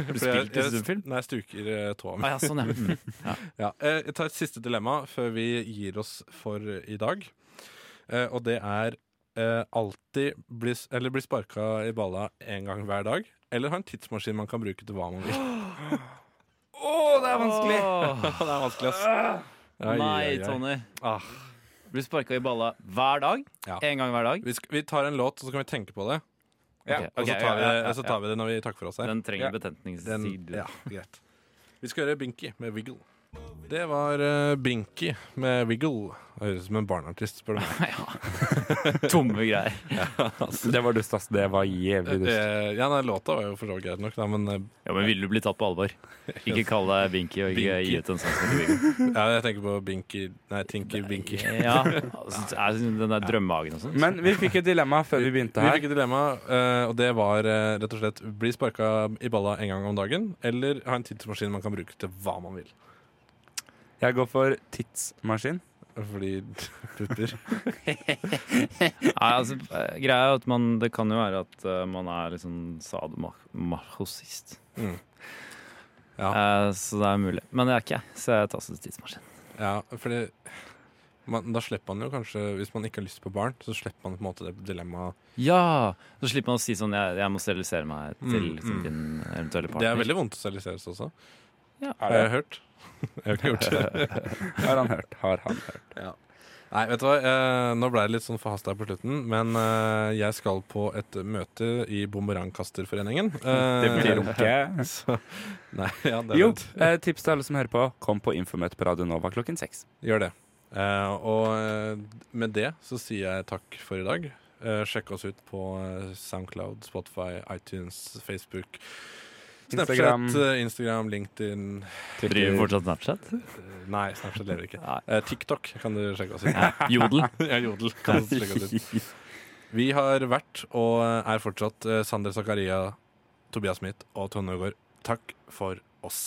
Har du spilt i stumfilm? Nei, jeg stuker eh, tåa mi. Ah, ja, sånn, ja. Mm. Ja, eh, jeg tar et siste dilemma før vi gir oss for i dag. Eh, og det er eh, alltid bli, s- eller bli sparka i balla én gang hver dag. Eller ha en tidsmaskin man kan bruke til hva man vil. det er vanskelig! Åh, det er vanskelig, ass. Ai, ai, nei, ai. Tony. Ah. Blir sparka i balla hver dag. Ja. En gang hver dag. Vi, sk vi tar en låt, så kan vi tenke på det. Ja, Ok, og ok, så tar, vi, ja, ja, ja, og så tar vi det når vi takker for oss her. Den trenger Ja. Den, betentningstid. ja, greit. Vi skal høre Binky med Wiggle. Det var eh, Binky med Wiggle. Høres ut som en barneartist, spør du meg. Tomme greier. Det var dust, ass. Det var jævlig dust. Eh, ja, nei, låta var jo for så vidt greit nok, da, men eh, Ja, men ville du bli tatt på alvor? Ikke kall deg Binky og ikke Binky. gi ut en sang som Binky. Ja, jeg tenker på Binky Nei, Tinky Binky. Ja, altså, er det den der drømmehagen og sånn. Men vi fikk et dilemma før vi begynte Vi her. fikk et dilemma, eh, og det var eh, rett og slett bli sparka i balla en gang om dagen, eller ha en tidsmaskin man kan bruke til hva man vil. Jeg går for tidsmaskin. Fordi pupper Nei, altså, eh, greia er at man, det kan jo være at eh, man er liksom sadomachossist. Mm. Eh, så det er mulig. Men det er ikke jeg, så jeg tar også tidsmaskin. Ja, fordi man, Da slipper man jo kanskje Hvis man ikke har lyst på barn, så slipper man på en måte det dilemmaet. Ja! Så slipper man å si sånn jeg, jeg må sterilisere meg til Mm, liksom, mm. din eventuelle partner. Det er veldig vondt å steriliseres også. Ja. Har jeg hørt? Jeg har ikke gjort det. Eh, Har han hørt? Har han hørt? Nei, vet du hva, eh, nå ble det litt sånn forhasta på slutten, men eh, jeg skal på et møte i Bumerangkasterforeningen. Eh, Det blir runke. Så, nei, ja, det er Jo, sant. eh, tips til alle som hører på. Kom på infomøte på Radio Nova klokken seks. Gjør det. Eh, og eh, med det så sier jeg takk for i dag. Eh, sjekk oss ut på eh, Soundcloud, Spotify, iTunes, Facebook, Snapchat, Instagram. eh, Instagram, LinkedIn Driver fortsatt Snapchat? Eh, Nei, Snapchat lever ikke. Nei. Eh, TikTok kan du sjekke oss ut. Jodel. ja, jodel kan du sjekke oss ut. Vi har vært og eh, er fortsatt eh, Sander Zakaria, Tobias Smith og Tonje Gaard. Takk for oss.